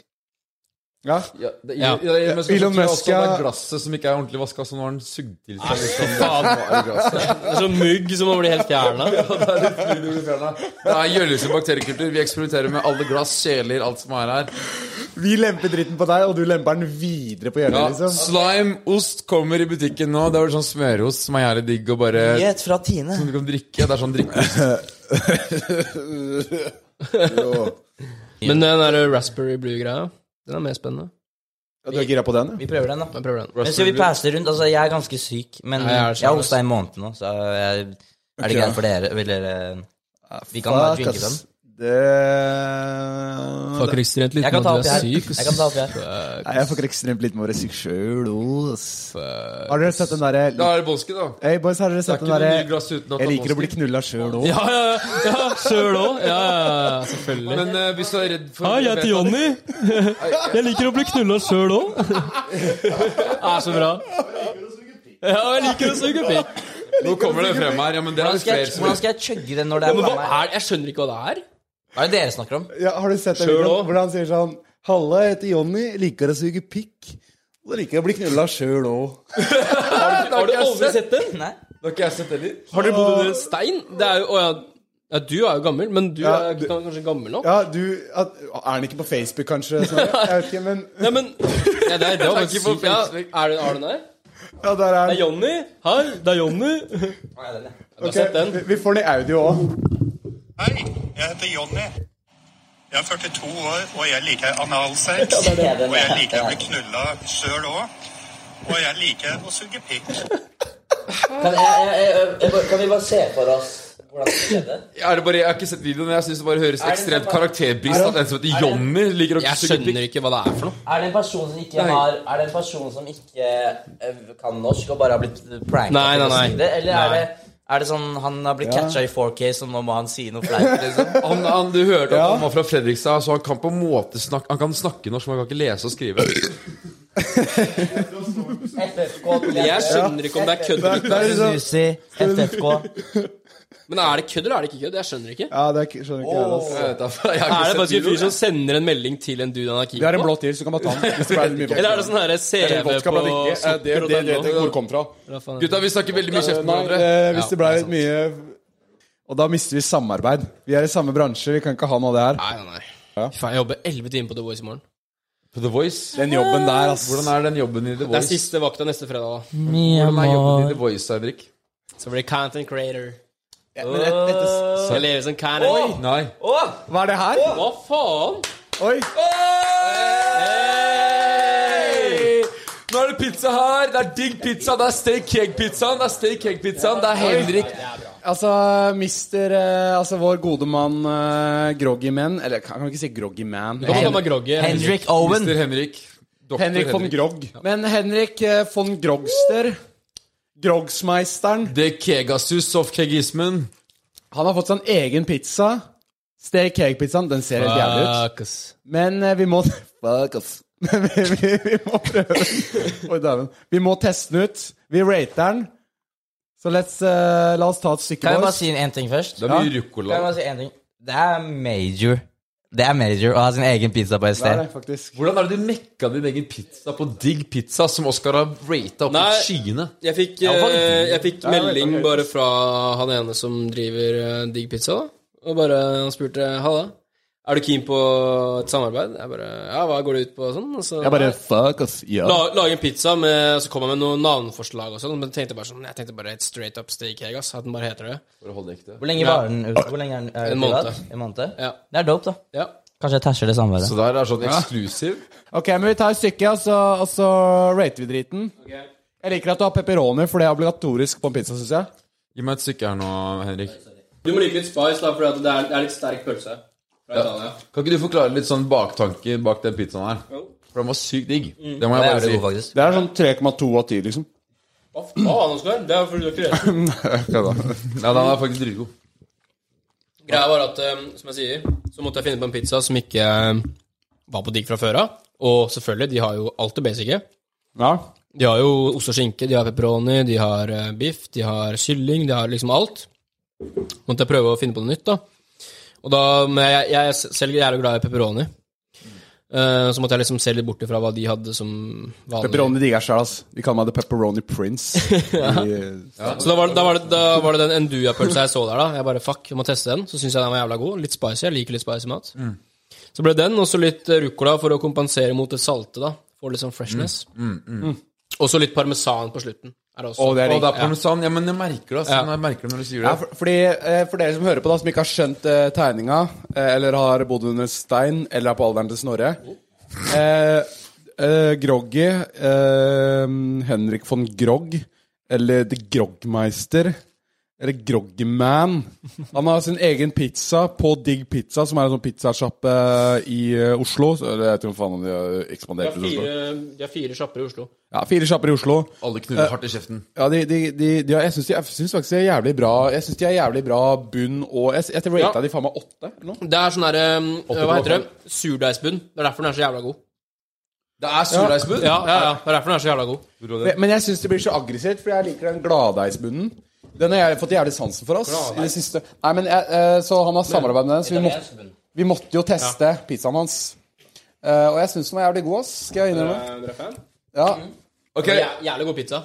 Ja.
ja, det, ja. Elon Musk,
Elon
tror jeg
Musk,
også det
ja.
er glasset som ikke er ordentlig vaska, så nå har han sugd til
Ah,
seg liksom.
Det er sånn mugg som man blir helt fjerna.
Det er Gjøllesen bakteriekultur. Vi eksperimenterer med alle glass, kjeler, alt som er her.
Vi lemper dritten på deg, og du lemper den videre på
Ja,
hjørnet, liksom.
slime, ost kommer i butikken nå. Det er vel sånn smørost som er jævlig digg og bare
Nyhet fra Tine.
Du kan drikke. Det er sånn drikke.
Men den der raspberry blue-greia, den er mer spennende.
Ja, Du er gira på den? ja?
Vi prøver den, da.
Jeg prøver den.
Men skal vi passe det rundt? Altså, jeg er ganske syk, men
Nei, jeg er
jeg har
sånn,
hosta i en måned nå, så jeg, er det greit for dere? Vil dere Vi kan bare drinke den.
Det
Fuck ekstremt litt
Jeg kan
med
ta opp
at du
i
er
her.
syk. ass.
Jeg kan ta opp i her.
Nei, jeg får ikke ekstremt litt med å være syk sjøl, ass. Har dere sett den derre
Da er det Bolski, da.
Hey boys, har dere
Det er
sett den
ikke noe nye
derre
glass uten
Jeg
at det er
liker å bli
Bolski.
knulla sjøl òg.
Ja, ja, ja, ja. Sjøl òg. Ja, ja, ja, selvfølgelig.
Men eh, hvis du er redd for
Hei, jeg heter Jonny. Jeg liker å bli knulla sjøl òg. Er så bra. Ja, jeg liker å suge pikk.
Nå kommer det frem her. Ja, men det er
Hvordan
det
skal
flere
jeg,
som
hvordan skal jeg chugge den når det er
Men
på
hva
meg?
er det? Jeg skjønner ikke hva det er.
Hva er det dere snakker om?
Ja, har du sett den
Sjøl
videoen
også?
hvor han sier sånn Halla, jeg heter Jonny, liker å suge pikk. Og liker å bli knulla sjøl òg.
Har du aldri sett den?
Nei?
Det har ikke jeg sett heller.
Har dere bodd under en stein? Det er jo, å, ja. ja, du er jo gammel, men du
Ja,
er
du-
kanskje gammel nå?
Ja, du at, Er han ikke på Facebook, kanskje?
[LAUGHS]
Snorre? Jeg vet ikke, men
Nei, men ja, det er, det er,
Takk
faktisk
for
sykt. ja, er det har du den her?
Ja, der er
Det er
han.
Jonny. Hei, det er Jonny. Du har
Ok,
sett den?
vi- Vi får den i audio òg.
Hei, jeg heter Jonny. Jeg er 42 år, og jeg liker analsex.
det er det.
Og jeg liker å bli knulla sjøl òg. Og jeg liker å suge pikk.
Kan, jeg, jeg, jeg, jeg, bare- kan vi bare se for oss hvordan det skjedde?
Er det bare, jeg har ikke sett videoen, men jeg syns det bare høres
det
ekstremt
sånn
samme-
karakterbrist at en som heter Jonny, liker å
Jeg
suge pikk.
skjønner ikke hva det er for noe.
Er det en person som ikke
Nei.
har Er det en person som ikke eh, kan norsk og bare har blitt pranka?
Nei,
til å
nei, nei.
si det? Eller
Nei.
er det er det sånn han har blitt catcha i 4K, så nå må han si noe flaut?
[LAUGHS]
Liksom?
Han, han, du hørte at
Ja.
han var fra Fredrikstad, så han kan på en måte snakke Han kan snakke norsk, men han kan ikke lese og skrive.
FFK
Jeg skjønner ikke om det er kødd eller ikke.
Susi, FFK
Men er det kødd eller er det ikke kødd? Jeg skjønner ikke.
Ja, det er, ikke- skjønner ikke jeg det. ass.
Jeg vet da, for jeg har ikke
Er det
sett
faktisk en
videoen.
fyr som sender en melding til en dude han har
Vi har
keen
en
på?
blå til, så kan man ta den. Hvis det
[LAUGHS]
blir mye vodka.
Eller er det sånn her CV på
Vodka blant ikke. Eh, Det, det, det, det, hvor det kom fra.
Gutta, vi snakker veldig mye kjeft med
Nei,
hverandre.
eh, hvis det ble litt mye Og da mister vi samarbeid. Vi er i samme bransje, vi kan ikke ha noe av det her.
Nei, nei, nei. Faen, jeg jobber 11 timer på The Voice i morgen.
På The Voice?
Den jobben der, altså.
Hvordan er den jobben i The
Det er
Voice?
siste vakta neste fredag, da.
Hvordan er jobben i The Voice, Henrik?
Så blir det content creator.
Men et, dette-
Jeg lever som content.
Nei.
hva er det her?
Hva faen?
Oi!
Nå er det pizza her! Det er digg pizza! Det er steak cake-pizzaen! Det er steak cake-pizzaen! Det er Henrik
Altså, mister eh, Altså, vår gode mann eh, Groggy Man Eller kan kan vi ikke si Groggy Man?
Du kan kalle meg groggy.
Henrik Owen.
Mr. Henrik. Dr.
Henrik von Grog. Men Henrik eh, von Grogster Grogsmeisteren.
The Kegasus of kegismen.
Han har fått seg en egen pizza. Steak cake-pizzaen. Den ser helt jævlig ut.
Fuck, ass.
Men eh, vi må [LAUGHS] Fuck off. Men vi, vi, vi må prøve [LAUGHS] den. Oi, dæven. Vi må teste den ut. Vi rater den. Så let's, eh, la oss ta et stykke,
Kan jeg bare
boys.
si en ting først?
Det er mye
Kan
ruccola.
jeg bare si en ting? Det er major. Det er major å ha sin egen pizza på et
Det er
sted.
det, faktisk.
Hvordan er det du mekka din egen pizza på digg pizza, som Oskar har rata opp
Nei.
i skyene?
Jeg fikk,
Ja, hva-
eh, jeg fikk
Ja, jeg vet,
melding
ok.
bare fra han ene som driver eh, Digg Pizza, da. Og bare han spurte Halla, er du keen på et samarbeid? Jeg bare Ja, hva går det ut på? Og sånn. Og så,
Jeg bare Fuck off. Ja.
la, lage en pizza, med, så kom han med noen navnforslag og sånn. Men tenkte bare sånn Jeg tenkte bare et straight up steak egg, ass. At den bare heter det.
For å holde det ekte.
Hvor lenge
Ja.
var den? ut- Hvor lenge er den er den
En måned.
privat? En måned?
Ja.
Det er dope, da.
Ja.
Kanskje jeg tæsjer det samværet.
Så der er sånn eksklusiv.
Ok, men vi tar et stykke, og så, og så rater vi driten. Jeg liker at du har pepperoni, for det er obligatorisk på en pizza, syns jeg.
Gi meg et stykke her nå, Henrik.
Du må like litt spice, da, for det er, det er litt sterk pølse.
Fra Italia.
Kan ikke du forklare litt sånn baktanke bak den pizzaen her? For den var sykt digg. Det må
Mm. Det
jeg
er jævlig god,
bare si.
faktisk.
Det er sånn 3,2 av 10, liksom.
Hva faen, Oskar? Det er fordi du er ikke redd.
Ja, den er faktisk dritgod.
Greia var at, eh, som jeg sier, så måtte jeg finne på en pizza som ikke eh, var på digg fra før av. Og selvfølgelig, de har jo alt det basice.
Ja.
De har jo ost og skinke, de har pepperoni, de har eh, biff, de har kylling, de har liksom alt. Måtte jeg prøve å finne på noe nytt, da. Og da, men jeg, jeg er selv jævlig glad i pepperoni. Eh, så måtte jeg liksom se litt bort ifra hva de hadde som vanlig.
Pepperoni digger jeg sjæl, ass. De kaller meg The Pepperoni
[LAUGHS]
Prince. ja.
Så da var, det- da var, det, da var det den enduja-pølsa jeg så der, da. Jeg bare fuck, jeg må teste den. Så syns jeg den var jævla god. Litt spicy. Jeg liker litt spicy mat. Så ble det den, og så litt eh, ruccola for å kompensere mot det salte, da. Få litt sånn freshness. Mm. Og så litt parmesan på slutten. Er det også.
Å, det er
Å, det er
Ja.
parmesan. Ja, men jeg merker det. Altså.
Ja.
Jeg merker det når du sier det.
for, fordi, eh, for dere som hører på, da som ikke har skjønt eh, tegninga, eh, eller har bodd under stein, eller er på alderen til Snorre eh, eh, Groggy, eh, Henrik von Grog, eller The Grogmeister, eller Groggyman Han har sin egen pizza på Digg Pizza, som er en sånn pizzasjappe i eh, Oslo. Så, eller jeg vet ikke om faen om de har ekspandert til Oslo.
De har fire sjapper i Oslo.
Ja, fire sjapper i Oslo.
Alle knuller hardt i kjeften.
Ja, de, de, de, de, har- jeg syns de, jeg synes faktisk de er jævlig bra Jeg synes de er jævlig bra bunn og Jeg, jeg rata
Ja.
de faen meg åtte eller noe.
Det er sånn derre Hva heter det? Surdeigsbunn. Det er derfor den er så jævla god.
Det er surdeigsbunn!
Ja, ja, ja. Det er derfor den er så jævla god.
Men- Men jeg syns det blir så aggressivt, for jeg liker den gladdeisbunnen. Den har jeg fått jævlig sansen for oss i det siste. Nei, men jeg, eh, Så han har samarbeid med den, så vi, må, vi måtte jo teste pizzaen hans. Eh, og jeg syns den var jævlig god, ass. Skal jeg innrømme. Ja.
Ok,
Jæ- Jævlig god pizza.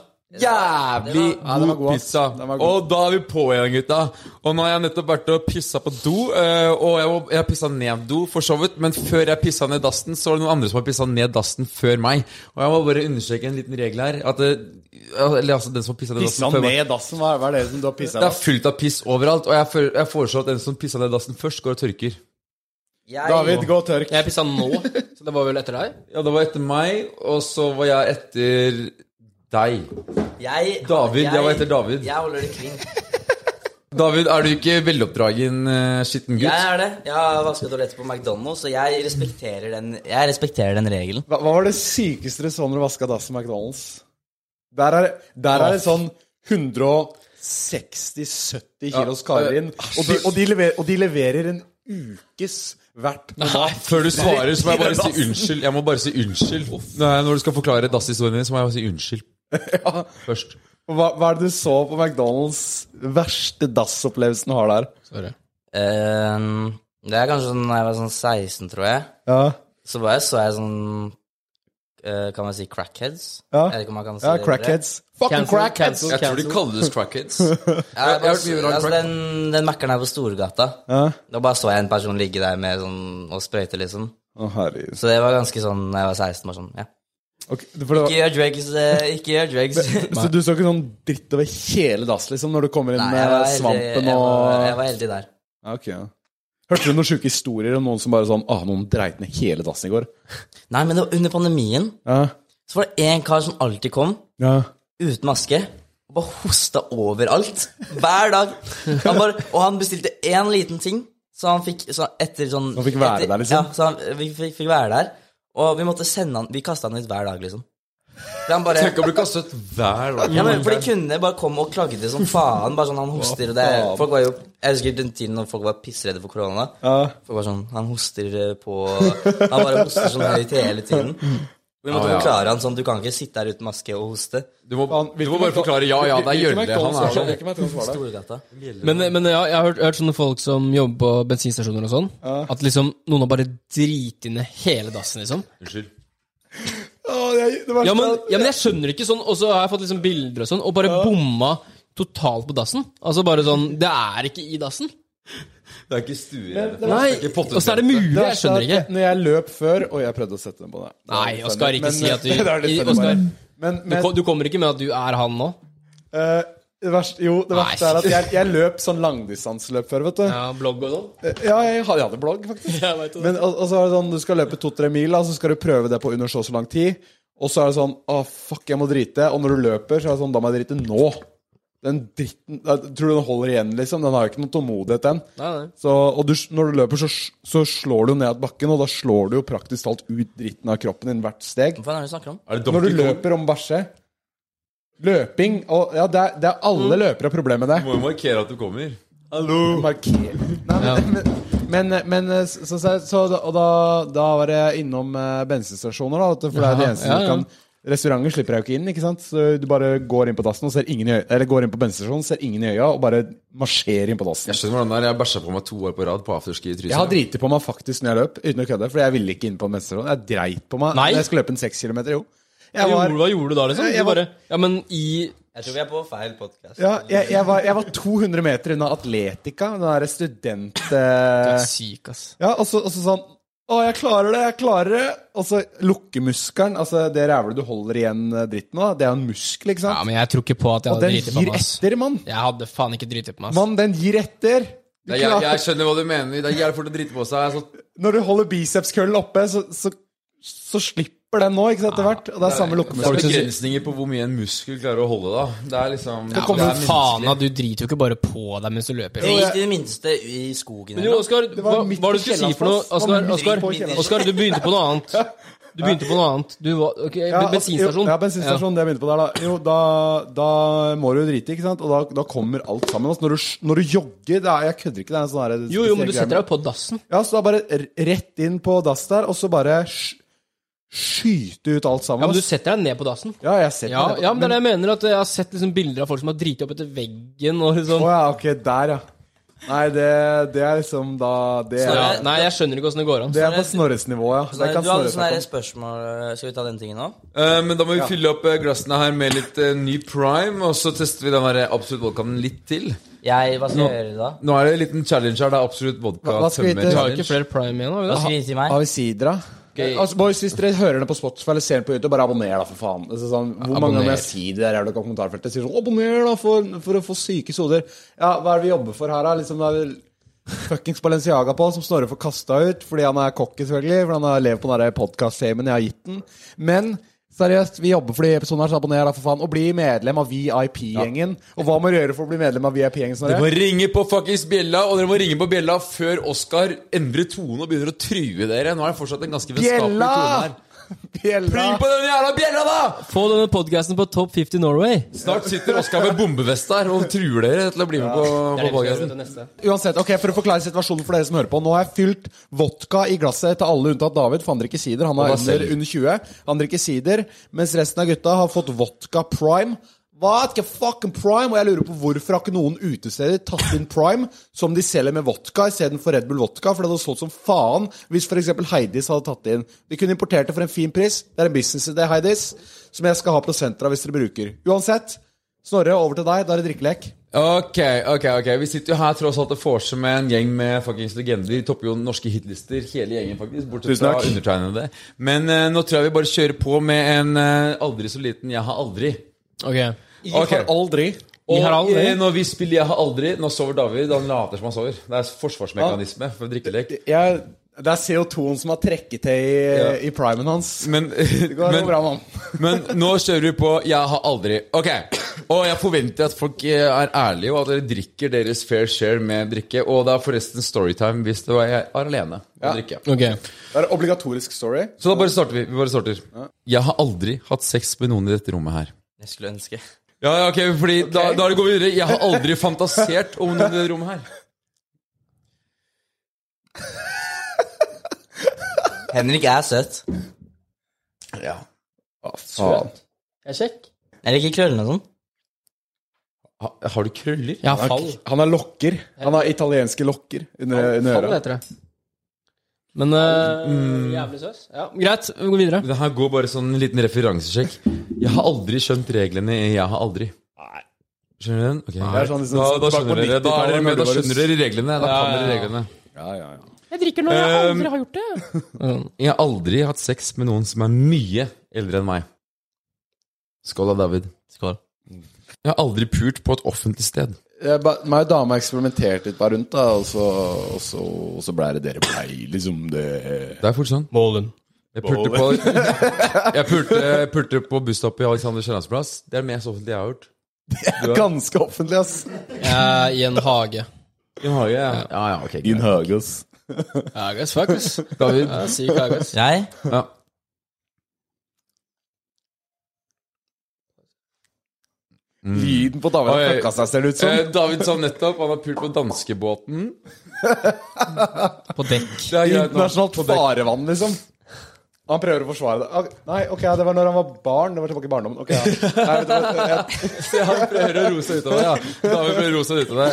Jævlig
den var
god
god, ass.
pizza.
Den var god.
Og da er vi på igjen, gutta. Og nå har jeg nettopp vært og pissa på do. eh, Og jeg, må- jeg pissa ned do, for så vidt. Men før jeg pissa ned dassen, så var det noen andre som har pissa ned dassen før meg. Og jeg må bare understreke en liten regel her. At det, eller altså, den som har pissa ned dassen før meg
dassen? Hva er det som du har pissa
Det er fullt av piss overalt. Og jeg, fø- jeg foreslår at den som pissa ned dassen først, går og tørker.
Jeg,
David, gå og tørk.
Jeg pissa nå, så det var vel etter deg?
Ja, det var etter meg, og så var jeg etter deg.
jeg,
David, jeg var etter David.
Jeg holder det clean.
David, er du ikke veloppdragen uh, skitten gutt?
Jeg er det. Jeg har vasket toalettet på McDonald's, og jeg respekterer den, jeg respekterer den regelen.
Hva, hva var det sykeste du så når du vaska dassen på McDonald's? Der er, der er det sånn 160-70 kilos karer inn,
eh,
og de, og, de lever, og de leverer en ukes hvert mat.
Før du svarer, så må jeg bare si unnskyld. Jeg må bare si unnskyld. Nei, når du skal forklare dasshistorien din, så må jeg bare si unnskyld. Først.
Hva, hva er det du så på McDonald's? Verste dassopplevelsen du har der?
Eh, det er kanskje sånn da jeg var sånn 16, tror jeg.
Ja,
Så bare så jeg sånn eh, Kan man si crackheads?
Ja.
Jeg vet ikke om man kan si
ja
det.
crackheads. Fucking
Cancel,
crackheads!
cancel,
Jeg tror de
cancel.
kalles crackheads.
Ja, jeg bare,
har hørt mye bra om
altså,
crack.
den den Mækkern her på Storgata.
Ja.
Da bare så jeg en person ligge der med sånn og sprøyte, liksom.
Å, herregud.
Så det var ganske sånn da jeg var 16. Bare sånn, ja.
Ok, for det var,
Ikke gjør drugs, eh, ikke gjør drugs.
[LAUGHS] så du så ikke sånn dritt over hele dass, liksom, når du kommer inn
Nei,
med
jeg var heldig,
svampen
jeg var, jeg
og
var heldig der.
Ja, ok, ja. Hørte du noen sjuke historier om noen som bare sånn Ah, noen dreit ned hele dassen i går.
Nei, men det var under pandemien
Ja,
så var det én kar som alltid kom
ja.
uten maske. Og bare hosta overalt. Hver dag. Han bare, og han bestilte én liten ting, så han fikk så etter sånn
han fikk være
etter,
der, liksom?
Ja, så han fikk, fikk, fikk være der. Og vi måtte sende han Vi kasta han ut hver dag, liksom. For han bare
Tenk å bli kastet hver dag.
ja, men fordi kundene bare kom og klagde som faen. Bare sånn, han hoster, og det er, folk var jo, Jeg husker den tiden når folk var pissredde for korona. Folk var sånn, Han hoster eh, på Han bare hoster sånn høyt hele tiden. Vi måtte
Ja, ja.
forklare han sånn Du kan ikke sitte her uten maske og hoste.
Du må, du må bare forklare ja, ja, det er Gjørle. Han er sånn.
Storgata.
Men, men ja, jeg har hørt, hørt sånne folk som jobber på bensinstasjoner og sånn, at liksom noen har bare driti ned hele dassen, liksom.
Unnskyld.
Ja,
sånn
men, ja, men jeg skjønner ikke sånn, og så har jeg fått liksom bilder og sånn, og bare bomma totalt på dassen. Altså bare sånn Det er ikke i dassen.
Det er ikke stueredd.
Nei,
ikke potteskrømt.
og så er det mulig, jeg skjønner ikke.
sånn Når jeg løp før Og jeg prøvde å sette den på deg. Det
Nei,
er litt
Oskar,
funny,
ikke
men-
si at du-
[LAUGHS] Det er litt
i-
funny, bare.
Oskar,
Men,
Du,
men
ko- du kommer ikke med at du er han nå?
eh, det verste, Jo, det verste
Nei.
er at jeg, jeg løp sånn langdistanseløp før, vet du. Ja,
Ja, blogg og sånn?
jeg, hadde, jeg hadde blogg, faktisk.
Jeg vet det.
Men, og, og så er det sånn, du skal løpe to-tre mil, da, så skal du prøve det på under så og så lang tid. Og så er det sånn Å, fuck, jeg må drite. Og når du løper, så er det sånn Da må jeg drite nå. Den dritten jeg Tror du den holder igjen, liksom? Den har jo ikke noen tålmodighet, den.
Nei, nei.
Så, og du, når du løper, så, så slår du jo ned bakken, og da slår du jo praktisk talt ut dritten av kroppen din hvert steg.
Hva faen er det du snakker om?
Er det
Når
Donkey
du
Kong?
løper om bæsje Løping og, ja, det, er, det er alle
Mm.
løpere har problemer med det.
Du må jo markere at du kommer.
Marker. Nei, men, men, men, men så, så, så, da- og da, da var jeg innom eh, bensinstasjoner, da, vet du, for det er det
Jaha,
eneste
ja,
du
ja.
kan Restauranter slipper deg jo ikke inn, ikke sant? så du bare går inn på dassen og ser ingen i øya, eller går inn på bensinstasjonen, ser ingen i øya, og bare marsjerer inn på dassen.
Jeg skjønner hvordan det er. Jeg bæsja på meg to år på rad på afterski i Trysil.
Jeg har driti på meg faktisk når jeg løp, uten å kødde, for jeg ville ikke inn på bensinstasjonen. Jeg dreit på meg
Nei.
når jeg skulle løpe en seks kilometer, jo.
Hva
Jeg
gjorde-
var,
Hva gjorde du da, liksom?
Jeg- jeg
Du
var-
bare, ja, men i
Jeg tror vi er på feil podkast.
ja, jeg, jeg, var, jeg var 200 meter unna Atletica, den derre student... Eh,
Syk, ass.
Ja, og så, og så sånn Å, jeg klarer det, jeg klarer det. Og så lukkemuskelen, altså det rævlet du holder igjen eh, dritten av, det er jo en muskel, ikke
Ja,
sant?
men jeg tror ikke på at jeg
og den
hadde driti på
gir
meg, ass.
etter, mann.
Jeg hadde faen ikke driti på meg, ass.
Mann, den gir etter. Du
Det er jæv-
klarer-
jeg skjønner hva du mener. Det er jævlig fort å drite på seg. Altså,
Når du holder bicepskøllen oppe, så, så, så slipper den nå, ikke sant, etter hvert. Og det er samme
det er
lukkemuskel.
begrensninger på hvor mye en muskel klarer å holde, da. Det er liksom det
Ja,
er
men faen,
menneskelig.
da, du driter jo ikke bare på deg mens du løper.
Det gikk i det minste i skogen.
Men
eller
jo,
noe.
Oskar, hva
var
hva
midt
var det
på
du skulle si for noe?
Kiellandsplass. Det
Oskar,
var
Oskar,
midt på Kiellandsplass.
Oskar, du begynte på noe annet. Du begynte på noe annet. Du var ok,
Ja, altså,
bensinstasjon.
jo, Ja, bensinstasjon, det jeg begynte på der, da. Jo, da, da må du jo drite, ikke sant? Og da, da kommer alt sammen. Altså, når, du, når du jogger, det er, jeg kødder ikke, det er en sånn her
Jo, jo, men
spesiell greie
du
med-
setter deg jo på dassen.
Ja, så da bare r- rett inn på dass der, og så bare sk skyte ut alt sammen.
Ja, men du
ass.
setter deg ned på dassen.
ja, jeg ser
Ja,
det.
ja, men det er det jeg mener. at Jeg har sett liksom bilder av folk som har driti opp etter veggen og
Å
liksom
ja, ok, der, ja. Nei, det, det er liksom da Det er,
ja, Nei, jeg skjønner ikke åssen det går an.
det er på Snorres nivå, ja.
Nei,
Det kan
du
Snorre
hadde
sånn
sånne
snakke
her
om.
spørsmål eh, Skal vi ta den tingen nå?
Eh, men da må vi fylle opp eh, glassene her med litt eh, ny prime, og så tester vi den der Absolutt Vodkaen litt til.
Jeg, hva skal jeg gjøre da?
Nå er det en liten challenge her. Det er Absolutt Vodka
Hva- hva skal vi
tømmer
hete?
Vi har jo
challenge.
ikke flere prime igjen, har
Hva
Altså, vi det?
skal de til meg?
Har vi sidra? Altså, boys, hvis dere hører det på Spotify eller ser det på YouTube, bare abonner, da, for faen. Altså, sånn, hvor mange ganger jeg sier det der jævla kommentarfeltet? Sier sånn, abonner, da, for, for å få syke soder. Ja, hva er det vi jobber for her, da? Liksom, det er vel fuckings Balenciaga på, som Snorre får kasta ut fordi han er kokk, selvfølgelig. Fordi han har levd på den der podkast-famen jeg har gitt den. Men seriøst, vi jobber for de episodene her, så abonner, da, for faen. Og bli medlem av VIP-gjengen. Og hva må du gjøre for å bli medlem av VIP-gjengen,
Dere må
Snorre?
ringe på fuckings bjella, og dere må ringe på bjella før Oskar endrer tone og begynner å true dere. Nå er det fortsatt en ganske vennskapelig
Bjella!
tone her.
[LAUGHS] Bjella!
Ring på den jævla bjella, da!
Få denne podkasten på Top 50 Norway.
Snart sitter Oskar med bombevest der og truer dere til å bli med på, på podcasten.
Uansett, ok, For å forklare situasjonen for dere som hører på. Nå har jeg fylt vodka i glasset til alle unntatt David, for han drikker sider. Han er
Og Marcel.
under, under 20. Han drikker sider, mens resten av gutta har fått vodka prime. Vodka fucking prime! Og jeg lurer på hvorfor har ikke noen utesteder tatt inn prime som de selger med vodka istedenfor Red Bull vodka? For det hadde solgt som faen hvis f.eks. Heidis hadde tatt det inn. De kunne importert det for en fin pris. Det er en businessidé, Heidis, som jeg skal ha prosenter av hvis dere bruker. Uansett, Snorre, over til deg. Da er det drikkelek.
Ok, ok, ok Vi sitter jo her tross alt og forser med en gjeng med fuckings legender. De topper jo norske hitlister, hele gjengen, faktisk. Bortsett
Tusen
fra
takk.
undertegnede. Men eh, nå tror jeg vi bare kjører på med en eh, aldri så liten 'Jeg har aldri'.
Ok.
Ok.
Aldri.
Og
har aldri.
eh, når vi spiller 'Jeg har aldri', nå sover David. Han later som han sover. Det er forsvarsmekanisme for drikkelek.
Jeg, det er CO2-en som har trekket til i,
Ja.
i primen hans.
Men,
Det går
men,
bra, mann.
men nå kjører vi på 'Jeg har aldri'. Ok. Og jeg forventer at folk eh, er ærlige, og at dere drikker deres fair share med drikke. Og det er forresten storytime hvis det var jeg er alene og drikker.
ok
Det er obligatorisk story.
Så da bare starter vi. vi bare starter Jeg har aldri hatt sex med noen i dette rommet her.
Jeg skulle ønske.
Ja, ja, ok, fordi Da, da går vi videre. Jeg har aldri fantasert om noen i dette rommet [LAUGHS] her.
Henrik er søt.
Faen.
Jeg er kjekk.
Jeg liker krøllene og sånn.
Ha, har du krøller?
Jeg har fall.
Han har lokker. Han har italienske lokker under, under
Fall
øra.
heter det. Men eh, Jævlig søs. Ja, greit. Vi går videre.
Det her går bare sånn en liten referansesjekk. Jeg har aldri skjønt reglene i 'Jeg har aldri'. Skjønner du den? Ok,
er sånn liksom
da, da,
tilbake på
skjønner dere, da,
90-tallet
er dere med, da
når du bare-
skjønner dere reglene. Da kan dere reglene.
Ja, ja, ja.
Jeg drikker når jeg aldri har gjort det.
Jeg har aldri hatt sex med noen som er mye eldre enn meg. Skål da, David. Skål. Jeg har aldri pult på et offentlig sted.
Jeg ba- Meg og dama eksperimenterte litt bare rundt, da, og så, og så, og så blei det dere blei, liksom. Det
Det er fort sånn.
Målen.
Jeg pulte på, [LAUGHS] jeg pulte, pulte på busstoppet i Alexander Kiellands plass. Det er det mest offentlige jeg har gjort.
Det er ganske offentlig, ass.
Eh, I en hage.
I en hage, ja. Ja, ja, ok.
Din høge, ass.
Hage, ass, fuck, ass.
David?
Ja, Syk hage, ass.
Jeg
Ja.
Mm.
Lyden på damen
Oi.
fucka seg, ser det ut som.
Eh, David sa nettopp han har pult på danskebåten.
[LAUGHS] På dekk.
Det er greit nå.
Internasjonalt farevann, liksom.
Han prøver å forsvare det. Ok, Nei, ok, det var når han var barn. Det var tilbake i barndommen. Ok, ja. Nei, vet du hva, jeg,
[LAUGHS] Ja, han prøver å roe seg ut av det. Ja. David prøver å roe seg ut av det.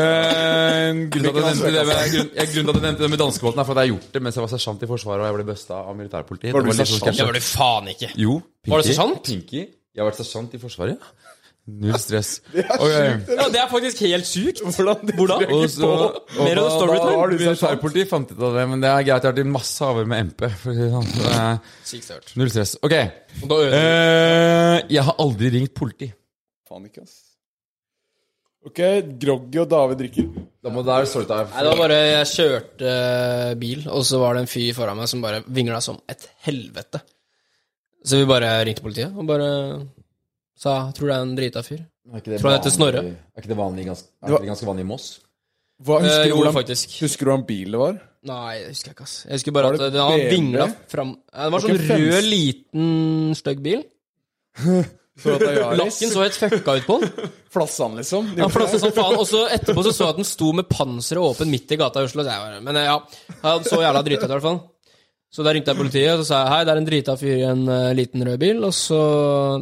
Eh, grunnen til at jeg nevnte det med, grunn, jeg, grunnen til at jeg nevnte det med danskebåten, er for at jeg har gjort det mens jeg var sersjant i Forsvaret og jeg ble busta av militærpolitiet. Det Var litt sånn sketsj.
Det var du faen ikke.
Jo.
Var du
Pinky.
sersjant?
Pinky. Jeg har vært sersjant i Forsvaret. ja. Null stress. Det
Ja, det er faktisk helt sykt.
Hvordan de
Hvordan?
Og så, og
Mer av
da-
storytime.
da har du Militærpolitiet fant ut av det, men det er greit. Jeg har vært i masse avhør med MP. For å si det sånn. Så det er
Sykt størt.
null stress. Ok.
Og da ødelegger
Eh, jeg har aldri ringt politi.
faen ikke, ass. Ok, Groggy og David drikker.
Da må det være storytime.
Nei, det var bare Jeg kjørte eh, bil, og så var det en fyr foran meg som bare vingla som et helvete. Så vi bare ringte politiet og bare sa tror det er en drita fyr.
Er ikke det
Tror han heter Snorre?
vanlig- Er ikke det vanlig, ganske, er ikke det ganske vanlig i Moss?
Hva,
Eh,
husker, du
jo,
hvordan,
faktisk.
husker du hvordan bilen var?
Nei, jeg husker ikke, ass. Jeg husker bare
Var
at
det
den- han
BMW?
vingla fram ja, Det var
Var
sånn
ikke en
rød,
fems-
liten, stygg
[LAUGHS]
bil.
For at det er Yaris.
Lakken så helt fucka ut på
[LAUGHS]
den.
Flassa han, liksom?
Han flasset som sånn faen. Og så etterpå så så jeg at den sto med panseret åpen midt i gata i Oslo. Så jeg bare, men eh, ja, han så jævla drita ut, i hvert fall. Så da ringte jeg politiet, og så sa jeg hei, det er en drita fyr i en eh, liten rød bil, og så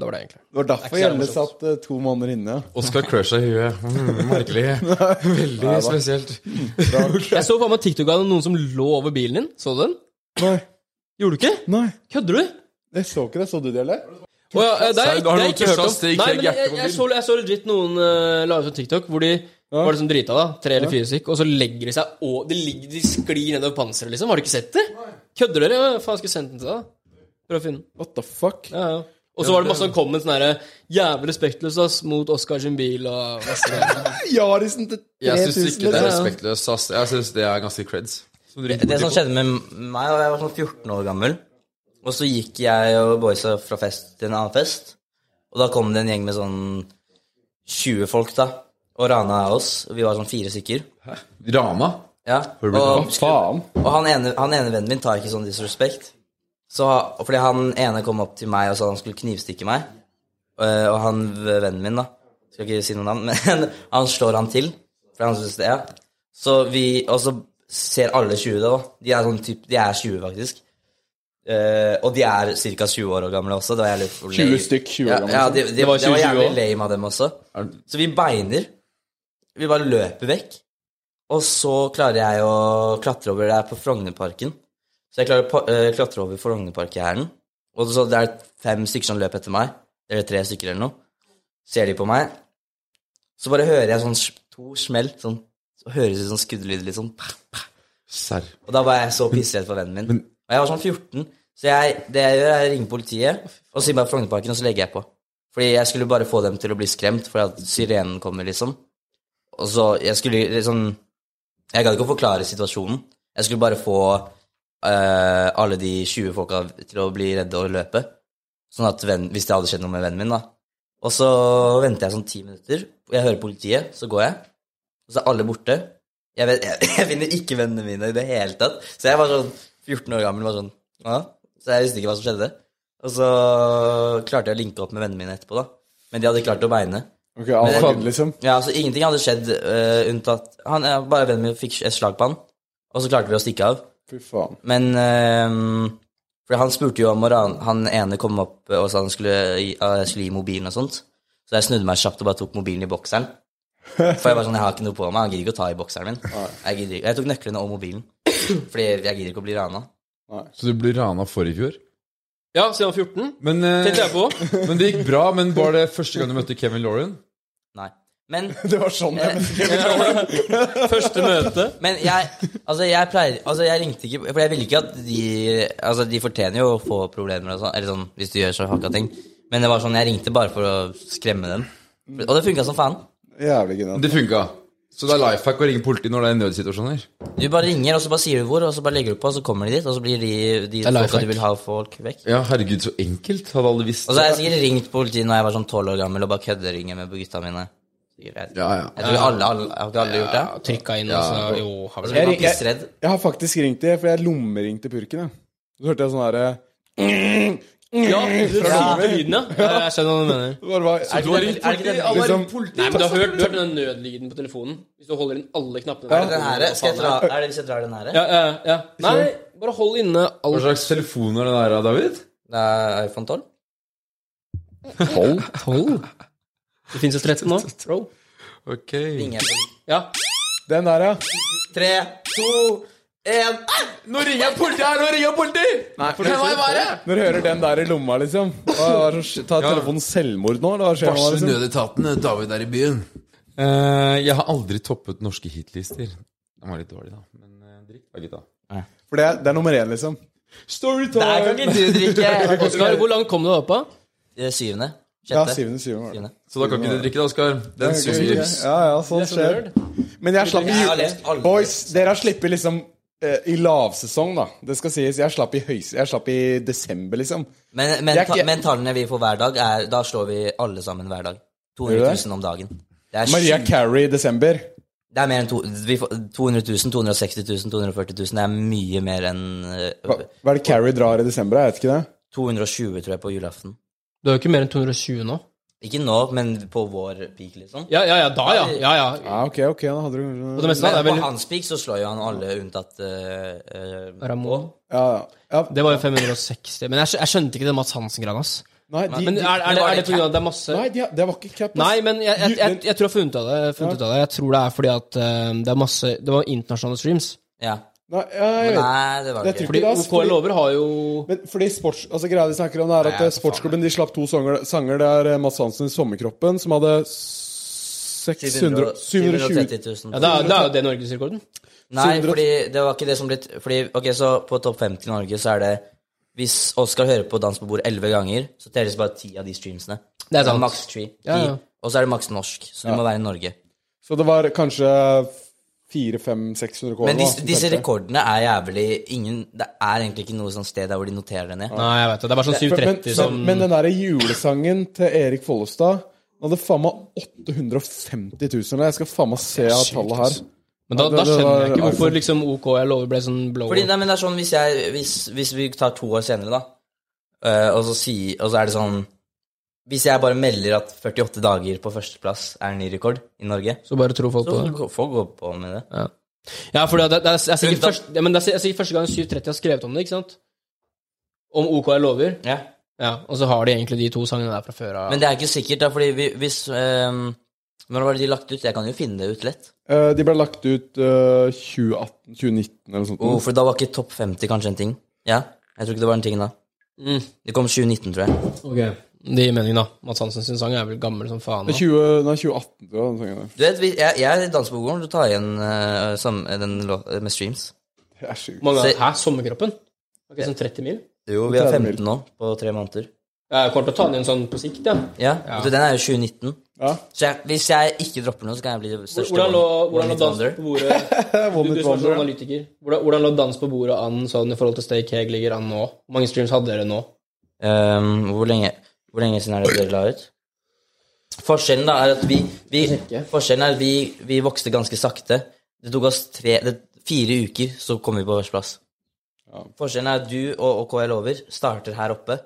Det var det, egentlig.
Det var derfor Gjelle satt eh, to måneder inne.
Oskar crusha huet. Mm, [LAUGHS] merkelig. Veldig spesielt.
Jeg så faen meg TikTok av noen som lå over bilen din. Så du den?
Nei,
Gjorde du ikke?
nei,
Kødder du?
jeg så ikke det. Så du det, eller?
Å ja, eh, det har
Har
jeg
du
det har jeg ikke hørt
noen
om.
til
Nei,
Kjell
men
Hjerte på
jeg, jeg,
bilen?
så, jeg så legit noen eh, la ut en TikTok hvor de var liksom drita, da. Tre eller fire stykk. Og så legger de seg og De, ligger, de sklir nedover panseret, liksom. Har du ikke sett det? Kødder dere? Hva faen skulle jeg sendt den til deg? Prøv å finne den.
What the fuck?
Ja, ja. Og så var det masse sånn comment sånn herre Jævlig respektløs, ass, mot Oscar sin bil [LAUGHS] og masse greier.
Yarisen til
Jeg
3000,
syns ikke det er
eller?
respektløst, ass. Jeg syns det er ganske creds. Som du
Det, det som skjedde med meg, og jeg var sånn 14 år gammel, og så gikk jeg og boysa fra fest til en annen fest, og da kom det en gjeng med sånn 20 folk, da, og rana oss, og vi var sånn fire stykker.
Rana.
Ja,
Hva
og,
Faen.
og han, ene, han ene vennen min tar ikke sånn disrespekt. Så, ha- fordi han ene kom opp til meg og sa han skulle knivstikke meg, eh, og han vennen min, da, skal ikke si noe navn, [LAUGHS] men han slår han til, for han synes det, ja. Så vi, og så ser alle 20 det, da. De er sånn typ, de er 20 faktisk. Eh, og de er ca. 20 år gamle også. Det var jævlig
20 stykk, 20 år gamle,
Ja, ja
liksom.
de, de, det var, jævlig lame av dem også. Så vi beiner. Vi bare løper vekk. Og så klarer jeg å klatre over Det er på Frognerparken. Så jeg klarer å pa- eh, klatre over Frognerparkgjerden. Og så det er fem stykker som løper etter meg. Eller tre stykker eller noe. Ser de på meg. Så bare hører jeg sånn sj- to smell. Sånn, så høres det ut som skuddlyd, litt sånn. Pah, pah.
Serr.
Og da var jeg så pissredd for vennen min. og jeg var sånn 14. Så jeg, det jeg gjør, er å ringe politiet og si bare Frognerparken, og så legger jeg på. Fordi jeg skulle bare få dem til å bli skremt, for at sirenen kommer, liksom. Og så jeg skulle liksom Jeg gadd ikke å forklare situasjonen. Jeg skulle bare få eh, alle de 20 folka til å bli redde og løpe. Sånn at venn, hvis det hadde skjedd noe med vennen min, da. Og så venter jeg sånn ti minutter, og jeg hører politiet, så går jeg. Og så er alle borte. Jeg, vet, jeg, [LAUGHS] jeg finner ikke vennene mine i det hele tatt. Så jeg var sånn 14 år gammel. Var sånn, ja. Så jeg visste ikke hva som skjedde. Og så klarte jeg å linke opp med vennene mine etterpå, da. Men de hadde klart å beine.
Ok, alt
Men-
var good, liksom.
Ja, så ingenting hadde skjedd eh, unntatt han, ja, Bare vennen min fikk et slag på han, og så klarte vi å stikke av.
Fy faen.
Men eh, For han spurte jo om å ran... Han ene kom opp og sa han skulle, gi- at jeg skulle gi mobilen og sånt. Så jeg snudde meg kjapt og bare tok mobilen i bokseren. For jeg var sånn, jeg har ikke noe på meg. Han gidder ikke å ta i bokseren min. Jeg, gidder ikke. jeg tok nøklene og mobilen. [CLEARS THROAT] Fordi jeg gidder ikke å bli rana.
Så du ble rana forrige fjor?
Ja, siden han var 14.
Men, eh,
Tenkte jeg på.
men det gikk bra. Men var det første gang du møtte Kevin Lauren?
Nei. Men,
[LAUGHS]
Eh,
Det var sånn jeg
[LAUGHS] Første møte.
men jeg Altså, jeg pleier Altså, jeg ringte ikke For jeg ville ikke at de Altså, de fortjener jo å få problemer og sånn, eller sånn, hvis du gjør så hakka ting. Men det var sånn, jeg ringte bare for å skremme dem. Og det funka som faen.
Jævlig genialt.
Det funka. Så det er life hack å ringe politiet når det er nødsituasjoner?
Du bare ringer, og så bare sier du hvor, og så bare legger du på, og så kommer de dit, og så blir de, de
er
folka
lifehack.
du vil ha folk vekk.
Ja, herregud, så enkelt. Hadde alle visst
Og så har jeg sikkert ringt politiet når jeg var sånn 12 år gammel og bare kødderinger med gutta mine. Sikkert.
Ja, ja.
Jeg tror alle, alle, har ikke alle gjort det?
Trykka inn, altså. og så Jo, har
Jeg
vel
var
Jeg- jeg-
pissredd.
Jeg har faktisk ringt de, for jeg lommeringte purken, jeg. Så hørte jeg sånn herre
Ja, du sier lyden, ja. Ja, Jeg skjønner hva du mener.
Er det ikke den- er det ikke altså. den- er
Liksom,
Nei, men du har hørt, du har hørt den nødlyden på telefonen? Hvis du holder inn alle knappene
Er det den her? Skal jeg dra, er det hvis jeg drar den her?
Ja, ja, ja. Nei, bare hold inne
Hva
alt.
slags telefon er det der, da, David?
Det er iPhone 12?
Hold. Det fins et
[LAUGHS]
13 nå. Bro.
Ok.
Ringer jeg til-
Ja.
den der, ja.
Tre, to, en
Nå ringer jeg politiet her! Nå ringer jeg politiet!
Nei, for
Hva er det?
Når du hører den der i lomma, liksom hva, hva, er det som skje- Ta telefonen selvmord nå, eller hva skjer nå? Liksom?
nødetaten. eh, David er i byen. Eh, jeg har aldri toppet norske hitlister. Den var litt dårlig, da. Men eh, drikk da, gutta.
For det, er- det er nummer én, liksom.
Der kan ikke du drikke!
[LAUGHS] Oskar, hvor langt kom du opp av?
Eh, Syvende?
Ja,
Sjette?
syvende, syvende. var det.
Syvende.
Så da kan ikke du drikke, da, Oskar. Den
Ja,
suger.
ja, ja, sånn skjer. Men jeg slapp i
Jeg har
jul...
lest alle
Boys, dere har sluppet liksom eh, i lavsesong, da. Det skal sies. Jeg slapp i, høys jeg slapp i desember, liksom.
Men, men,
Jeg er
ta,
ikke-
men tallene vi får hver dag, er, da slår vi alle sammen hver dag. 200 000 om dagen. Det er,
Maria
sjukt.
Carey i desember.
det er mer enn to, vi får 200 000, 260 000, 240 000. Det er mye mer enn
Hva,
eh,
hva er det Carey drar i desember? da? Jeg vet ikke det.
220, tror jeg, på julaften.
Du er jo ikke mer enn 220 nå.
Ikke nå, men på vår peak, liksom.
Ja, ja, ja. Da, ja. ja, ja.
Ja, ok, ok, da hadde du
På det meste
Men
av det er
på
vel
hans peak så slår jo han alle unntatt eh, eh,
Ramón.
Ja, ja.
Det var jo 560. Men jeg, skj- jeg skjønte ikke det Mats Hansen-greia hans.
Nei, de,
Men er, er, det, er det pga. at det er masse
nei de, det var ikke cap. ass.
Nei, men jeg, jeg, jeg, jeg tror jeg har funnet, av det, funnet ut av det. Jeg tror det er fordi at eh, det er masse Det var internasjonale streams.
Ja.
Nei, ja, jeg vet.
Nei, det var
Jeg tror
det ikke.
Fordi
ikke det. ass,
OKL over har jo
Men fordi sports, altså greia de snakker om det er at eh, Sportsklubben de slapp to sanger, sanger Det er eh, Mads Hansen i Sommerkroppen som hadde 600, 720
730 000.
Ja, det er, det er jo det norgesrekorden.
Nei,
700
fordi det var ikke det som ble t- Fordi, ok, så på topp 50 i Norge så er det Hvis Oskar hører på Dans på bord 11 ganger, så telles bare 10 av de streamsene.
Det er sant.
Maks 10.
Ja, ja.
Og så er det maks norsk, så du må være i Norge.
Så det var kanskje 400-500-600 K.
Men disse, disse rekordene er jævlig ingen Det er egentlig ikke noe sånn sted der hvor de noterer det ned.
Nei, jeg vet det. Det er bare sånn
men,
730
men,
som
men den der julesangen til Erik Follestad Den hadde faen meg 850 000. eller? Jeg skal faen meg se av tallet her.
Men da,
det-
da
det
skjønner jeg
var
ikke hvorfor
iPhone.
liksom OKL over ble sånn blow
Fordi,
up.
nei, men det er sånn hvis jeg Hvis, hvis vi tar to år senere, da, eh, og, så si, og så er det sånn Hvis jeg bare melder at 48 dager på førsteplass er en ny rekord i Norge,
Så bare tror folk
så
på det.
får folk gå på med det.
Ja, for det, det, det, er, det, er sikkert
Unntatt-
først, ja, men det er si- det er sikkert første gang 730 har skrevet om det, ikke sant? Om OKL over.
Ja.
Ja, og så har de egentlig de to sangene der fra før av.
Men det er ikke sikkert, da, fordi vi, hvis ehm, Når var det de lagt ut? Jeg kan jo finne det ut lett.
Eh, de ble lagt ut eh, 2018-2019 eller noe
Mm.
sånt.
Oh, for da var ikke topp 50 kanskje en ting? Ja? Jeg tror ikke det var en ting da.
Mm.
Det kom 2019, tror jeg.
Det gir mening, da. Mats Hansen sin sang er vel gammel som faen. nå.
20, nei, 2018, tror jeg. Den sangen der.
Du vet, vi- jeg, jeg danser på gården, du tar igjen eh, sam- den lå- med streams.
Det er sjukt.
Mange,
Se-
hæ, sommerkroppen? Var ikke sånn 30 mil?
Jo, vi har
30
15 nå, på tre måneder.
Jeg kommer til å ta den igjen sånn på sikt, ja.
Ja, vet Du, den er jo 2019.
Ja.
Så jeg, hvis jeg ikke dropper noe, så kan jeg bli det
Hvor-
største
Hvordan lå,
wonder-
hvordan lå
wonder
dans
wonder.
på bordet
One Hit
Du, du som er sånn
Wonder, ja.
analytiker. Hvordan, hvordan lå dans på bordet an sånn i forhold til Stay Keg ligger an nå? Hvor mange streams hadde dere nå?
Ehm, hvor, lenge, hvor lenge siden er det dere la ut? Forskjellen da er at vi, vi, forskjellen er at vi, vi vokste ganske sakte. Det tok oss tre, det, fire uker, så kom vi på førsteplass. Forskjellen er at du og, og KL Over starter her oppe,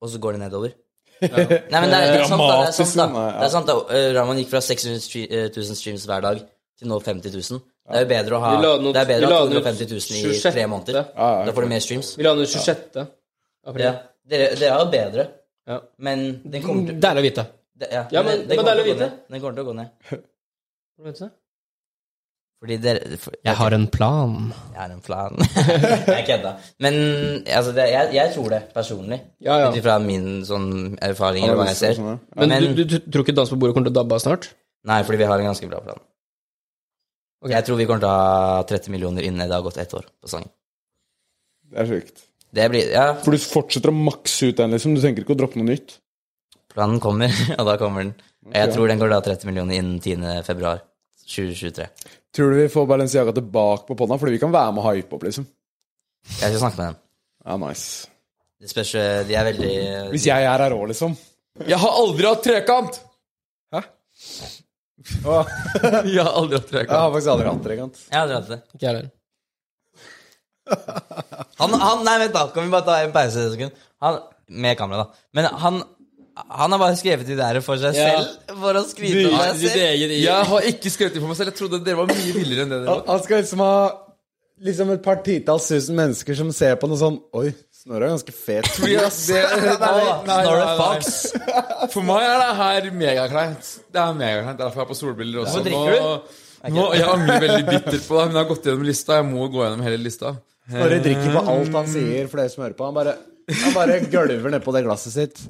og så går det nedover. Nei, men det er, det er sant, da. Det er sant, da.
Dramatisk,
Det er sant, da. Eh, Raman gikk fra 600 stre- eh, 000 streams hver dag til nå 50 000. Det er jo bedre å ha
Vi la den ut-
det er
vi
bedre å
la
ha
den ut
250 000 i
26.
tre måneder.
Ja, ja,
Da får du mer streams.
Vi la den ut 26. april.
Ja. Dere, dere er jo bedre,
Ja.
men den kommer til
Deilig å vite.
det- Ja,
Ja, men-
den- den
men
kommer
deilig
til
å
gå
vite.
ned. Den kommer til å gå ned. Fordi dere for,
Jeg har en plan.
Jeg er en plan. [LAUGHS] jeg kødda. Men altså, det, jeg, jeg tror det personlig.
Ja, ja.
Ut ifra min sånn erfaring eller hva jeg ser.
Sånn, ja.
Men,
Men-
du, du tror ikke Dans på bordet kommer til å dabbe av snart?
Nei, fordi vi har en ganske bra plan. Jeg tror vi kommer til å ha 30 millioner innen det har gått ett år på sangen.
Det er sjukt.
Det blir Ja,
For du fortsetter å makse ut den, liksom? Du tenker ikke å droppe noe nytt?
[LAUGHS] planen kommer, og da kommer den. Og Jeg tror den går da 30 millioner innen 10. februar. 2023.
Tror du vi får Balenciaga tilbake på ponna? Fordi vi kan være med og hype opp, liksom.
Jeg skal snakke med dem.
Ja, nice.
Det spørs, eh, de er veldig de,
Hvis jeg er her òg, liksom.
Jeg har aldri hatt trekant! Hæ? [LAUGHS] jeg har aldri
Jeg
hatt trekant.
har faktisk aldri hatt trekant.
Jeg har aldri hatt det.
Ikke jeg heller.
Han, han, nei, vent da, kan vi bare ta en pause et sekund? Han, med kamera, da. Men han, han har bare skrevet de der for seg
Ja.
selv, for å skryte av seg
Ditt
selv.
eget i.
Jeg har ikke skrevet det for meg selv. Jeg trodde dere var mye villere enn det dere var.
Han skal liksom ha liksom et par titalls tusen mennesker som ser på noe sånn Oi, Snorre er ganske [LAUGHS] fet.
Det- [LAUGHS] nei,
Å,
nei,
Snorre
nei, nei.
Fox.
For meg er det her megakleint. Det er megakleint, Derfor er jeg på solbriller også.
Hva drikker
Nå- Nå, jeg angrer veldig bittert på det, men jeg har gått gjennom lista. Jeg må gå gjennom hele lista.
Snorre drikker på alt han sier, for dere som hører på. Han bare, han bare gølver nedpå det glasset sitt.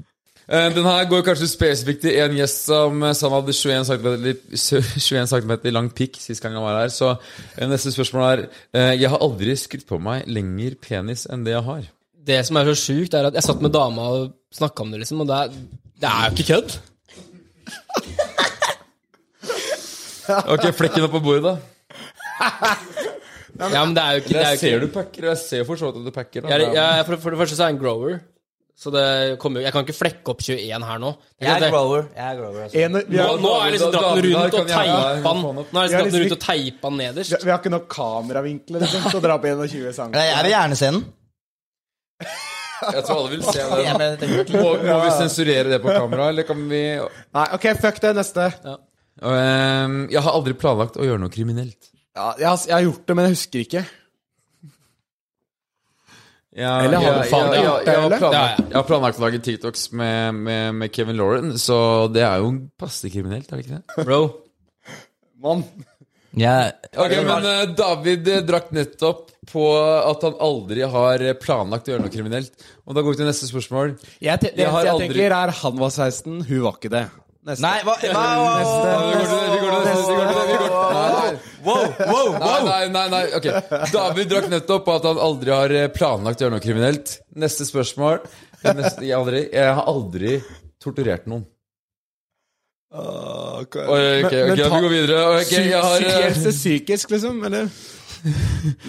Eh, Den her går kanskje spesifikt til en gjest som eh, sa han hadde 21 cm, 21 centimeter lang pikk sist gang han var her. Så eh, neste spørsmål er eh, Jeg har aldri skrytt på meg lenger penis enn det jeg har.
Det som er så sjukt, er at jeg satt med dama og snakka om det, liksom, og det er, det er jo ikke kødd.
Ok, flekken opp på bordet, da.
Ja, men det er jo ikke, det er
Jeg
jo
ser
ikke.
du packer, og jeg ser jo for så vidt at du packer. Da.
Jeg, jeg, for, for det første så er jeg en grower, så det kommer jo Jeg kan ikke flekke opp 21 her nå.
Jeg
Det er
er
det.
grower. Jeg er grower altså.
En, vi,
Nå,
har,
nå er jeg liksom dratt
Da-
den
da-
rundt
da
og
kan jeg-
teipa den.
ja,
Nå er jeg liksom dratt den rundt og teipa den
vi
nederst.
har ikke nok kameravinkler liksom, til å dra på 21 sanger.
Jeg er ved hjernescenen.
Jeg tror alle vil
[LAUGHS]
se
Jeg
det.
ble- tenkte-
Må, må vi sensurere det på kamera, eller kan vi
Nei, OK, fuck det. Neste.
Ehm, Jeg har aldri planlagt å gjøre noe kriminelt.
Ja, jeg, har, jeg har gjort det, men jeg husker ikke.
eller
har du faen
jeg, jeg,
gjort det,
jeg, har
eller?
planlagt, jeg har planlagt å lage TikToks med, med, med Kevin Lauren, så det er jo passe kriminelt, er det ikke det?
Bro.
Mann.
Jeg-
Ok, Men eh, David eh, drakk nettopp på at han aldri har eh, planlagt å gjøre noe kriminelt. Og da går vi til neste spørsmål.
Jeg, te- det
Jeg har
eneste jeg
aldri-
tenker, er han var 16, hun var ikke det. Neste.
Nei, hva, hva, hva,
Vi går til vi går til neste, vi går til vi går til- Nei, nei. Nei, nei, nei, nei, ok David drakk nettopp på at han aldri har eh, planlagt å gjøre noe kriminelt. Neste spørsmål. Neste, jeg, aldri, jeg har aldri torturert noen.
Åh, Ah, ok.
Oi, ok,
Men-
ok,
men ta-
vi går videre. Ok, jeg, har,
Psykisk,
eh,
psykisk, liksom?
[LAUGHS]
Eller?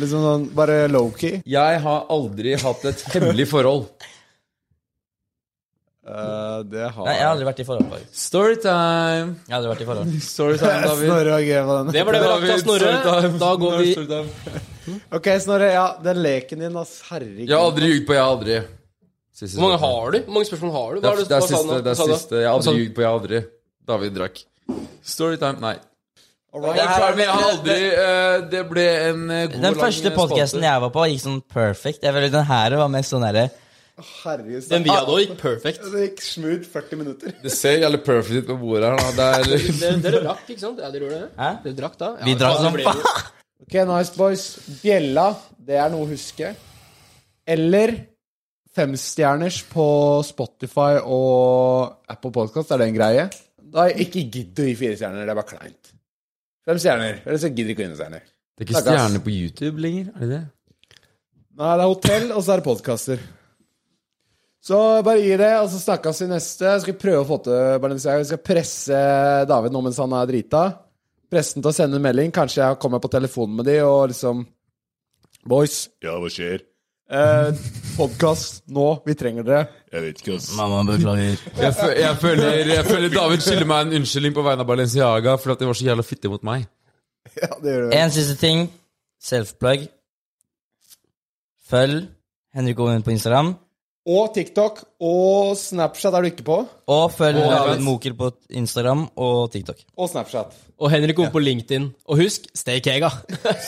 Liksom sånn bare low-key?
jeg har aldri hatt et hemmelig forhold.
Eh, det har
Nei, jeg har aldri vært i forhold. faktisk.
Storytime!
Jeg har aldri vært i forhold.
Storytime, David.
Snorre og Geva den.
[LAUGHS] Det var det vi rakk av Snorre. Da går vi
[LAUGHS] Ok, Snorre. Ja, den leken din, ass. Herregud.
Jeg har aldri ljugd på 'jeg har aldri'. Siste
Hvor
spørsmål.
mange har du? Hvor mange spørsmål har du?
Det
Hva
er,
har du
det er
hva sa du
siste.
nå?
Det
Hva sa
er
du?
siste. Jeg har
Hva sa
aldri
du?
ljugd på 'jeg har aldri'. David drakk. Storytime, nei.
Det
Jeg,
her er-
klarer, men jeg har aldri eh, Det ble en eh, god
Den første podkasten jeg var på, gikk sånn perfect. Jeg vet, den her var mest sånn derre
Herregud.
Den
Snorre.
vi hadde òg gikk perfekt.
Det gikk smooth 40 minutter.
Det ser jævlig perfect ut på bordet her. Da. Det er, liksom-
Dere, dere drakk, ikke sant? Ja, dere gjorde det?
Hæ?
Dere drakk da? Ja,
Vi drakk
faen,
som
det ble jo-
faen!
Ok, nice boys. Bjella, det er noe å huske. Eller femstjerners på Spotify og Apple Podcast, er det en greie? Da ikke gidd å gi fire stjerner, det er bare kleint. Fem stjerner, eller så gidder ikke å gi noen stjerner.
det er ikke stjerner på YouTube lenger, er det det?
Nei, det er hotell, og så er det podkaster. Så bare gi det, og så snakkes vi neste. Jeg skal prøve å få til Balenciaga. Vi skal presse David nå mens han er drita. Presse den til å sende en melding. Kanskje jeg kommer på telefonen med de og liksom Boys. Ja, hva skjer? Eh, Podkast nå. Vi trenger dere.
Mamma beklager.
Jeg, fø- jeg, føler, jeg føler David skylder meg en unnskyldning på vegne av Balenciaga for at de var så jævla fitte mot meg.
Ja, det gjør vi.
En siste ting. Self-plug. Følg Henrik Oven på Instagram.
Og TikTok og Snapchat er du ikke på.
Og følg David Mokel på Instagram og TikTok.
Og Snapchat.
Og Henrik kom på LinkedIn. Og husk, stay kega.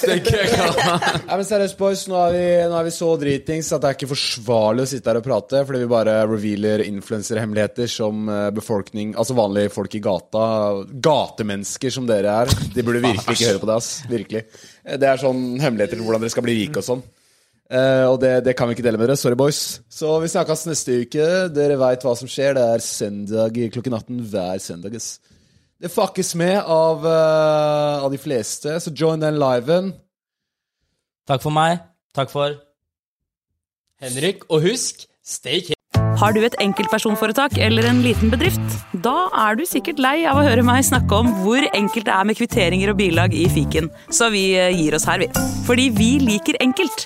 Nei, men seriøst, boys. Nå er, vi, nå er vi så dritings at det er ikke forsvarlig å sitte her og prate, fordi vi bare revealer influenserhemmeligheter som eh, befolkning Altså vanlige folk i gata. Gatemennesker som dere er. De burde virkelig ikke høre på det, ass. Virkelig. Eh, Det er sånn hemmeligheter til hvordan dere skal bli rike og sånn. Eh, og det, det kan vi ikke dele med dere. Sorry, boys. Så vi snakkes neste uke. Dere veit hva som skjer. Det er søndag klokken 18 hver søndag. ass. Det fuckes med av, eh, av de fleste, så join den liven.
Takk for meg. Takk for
Henrik, og husk, stay kega.
Har du et enkeltpersonforetak eller en liten bedrift? Da er du sikkert lei av å høre meg snakke om hvor enkelt det er med kvitteringer og bilag i fiken, så vi eh, gir oss her, vi. Fordi vi liker enkelt.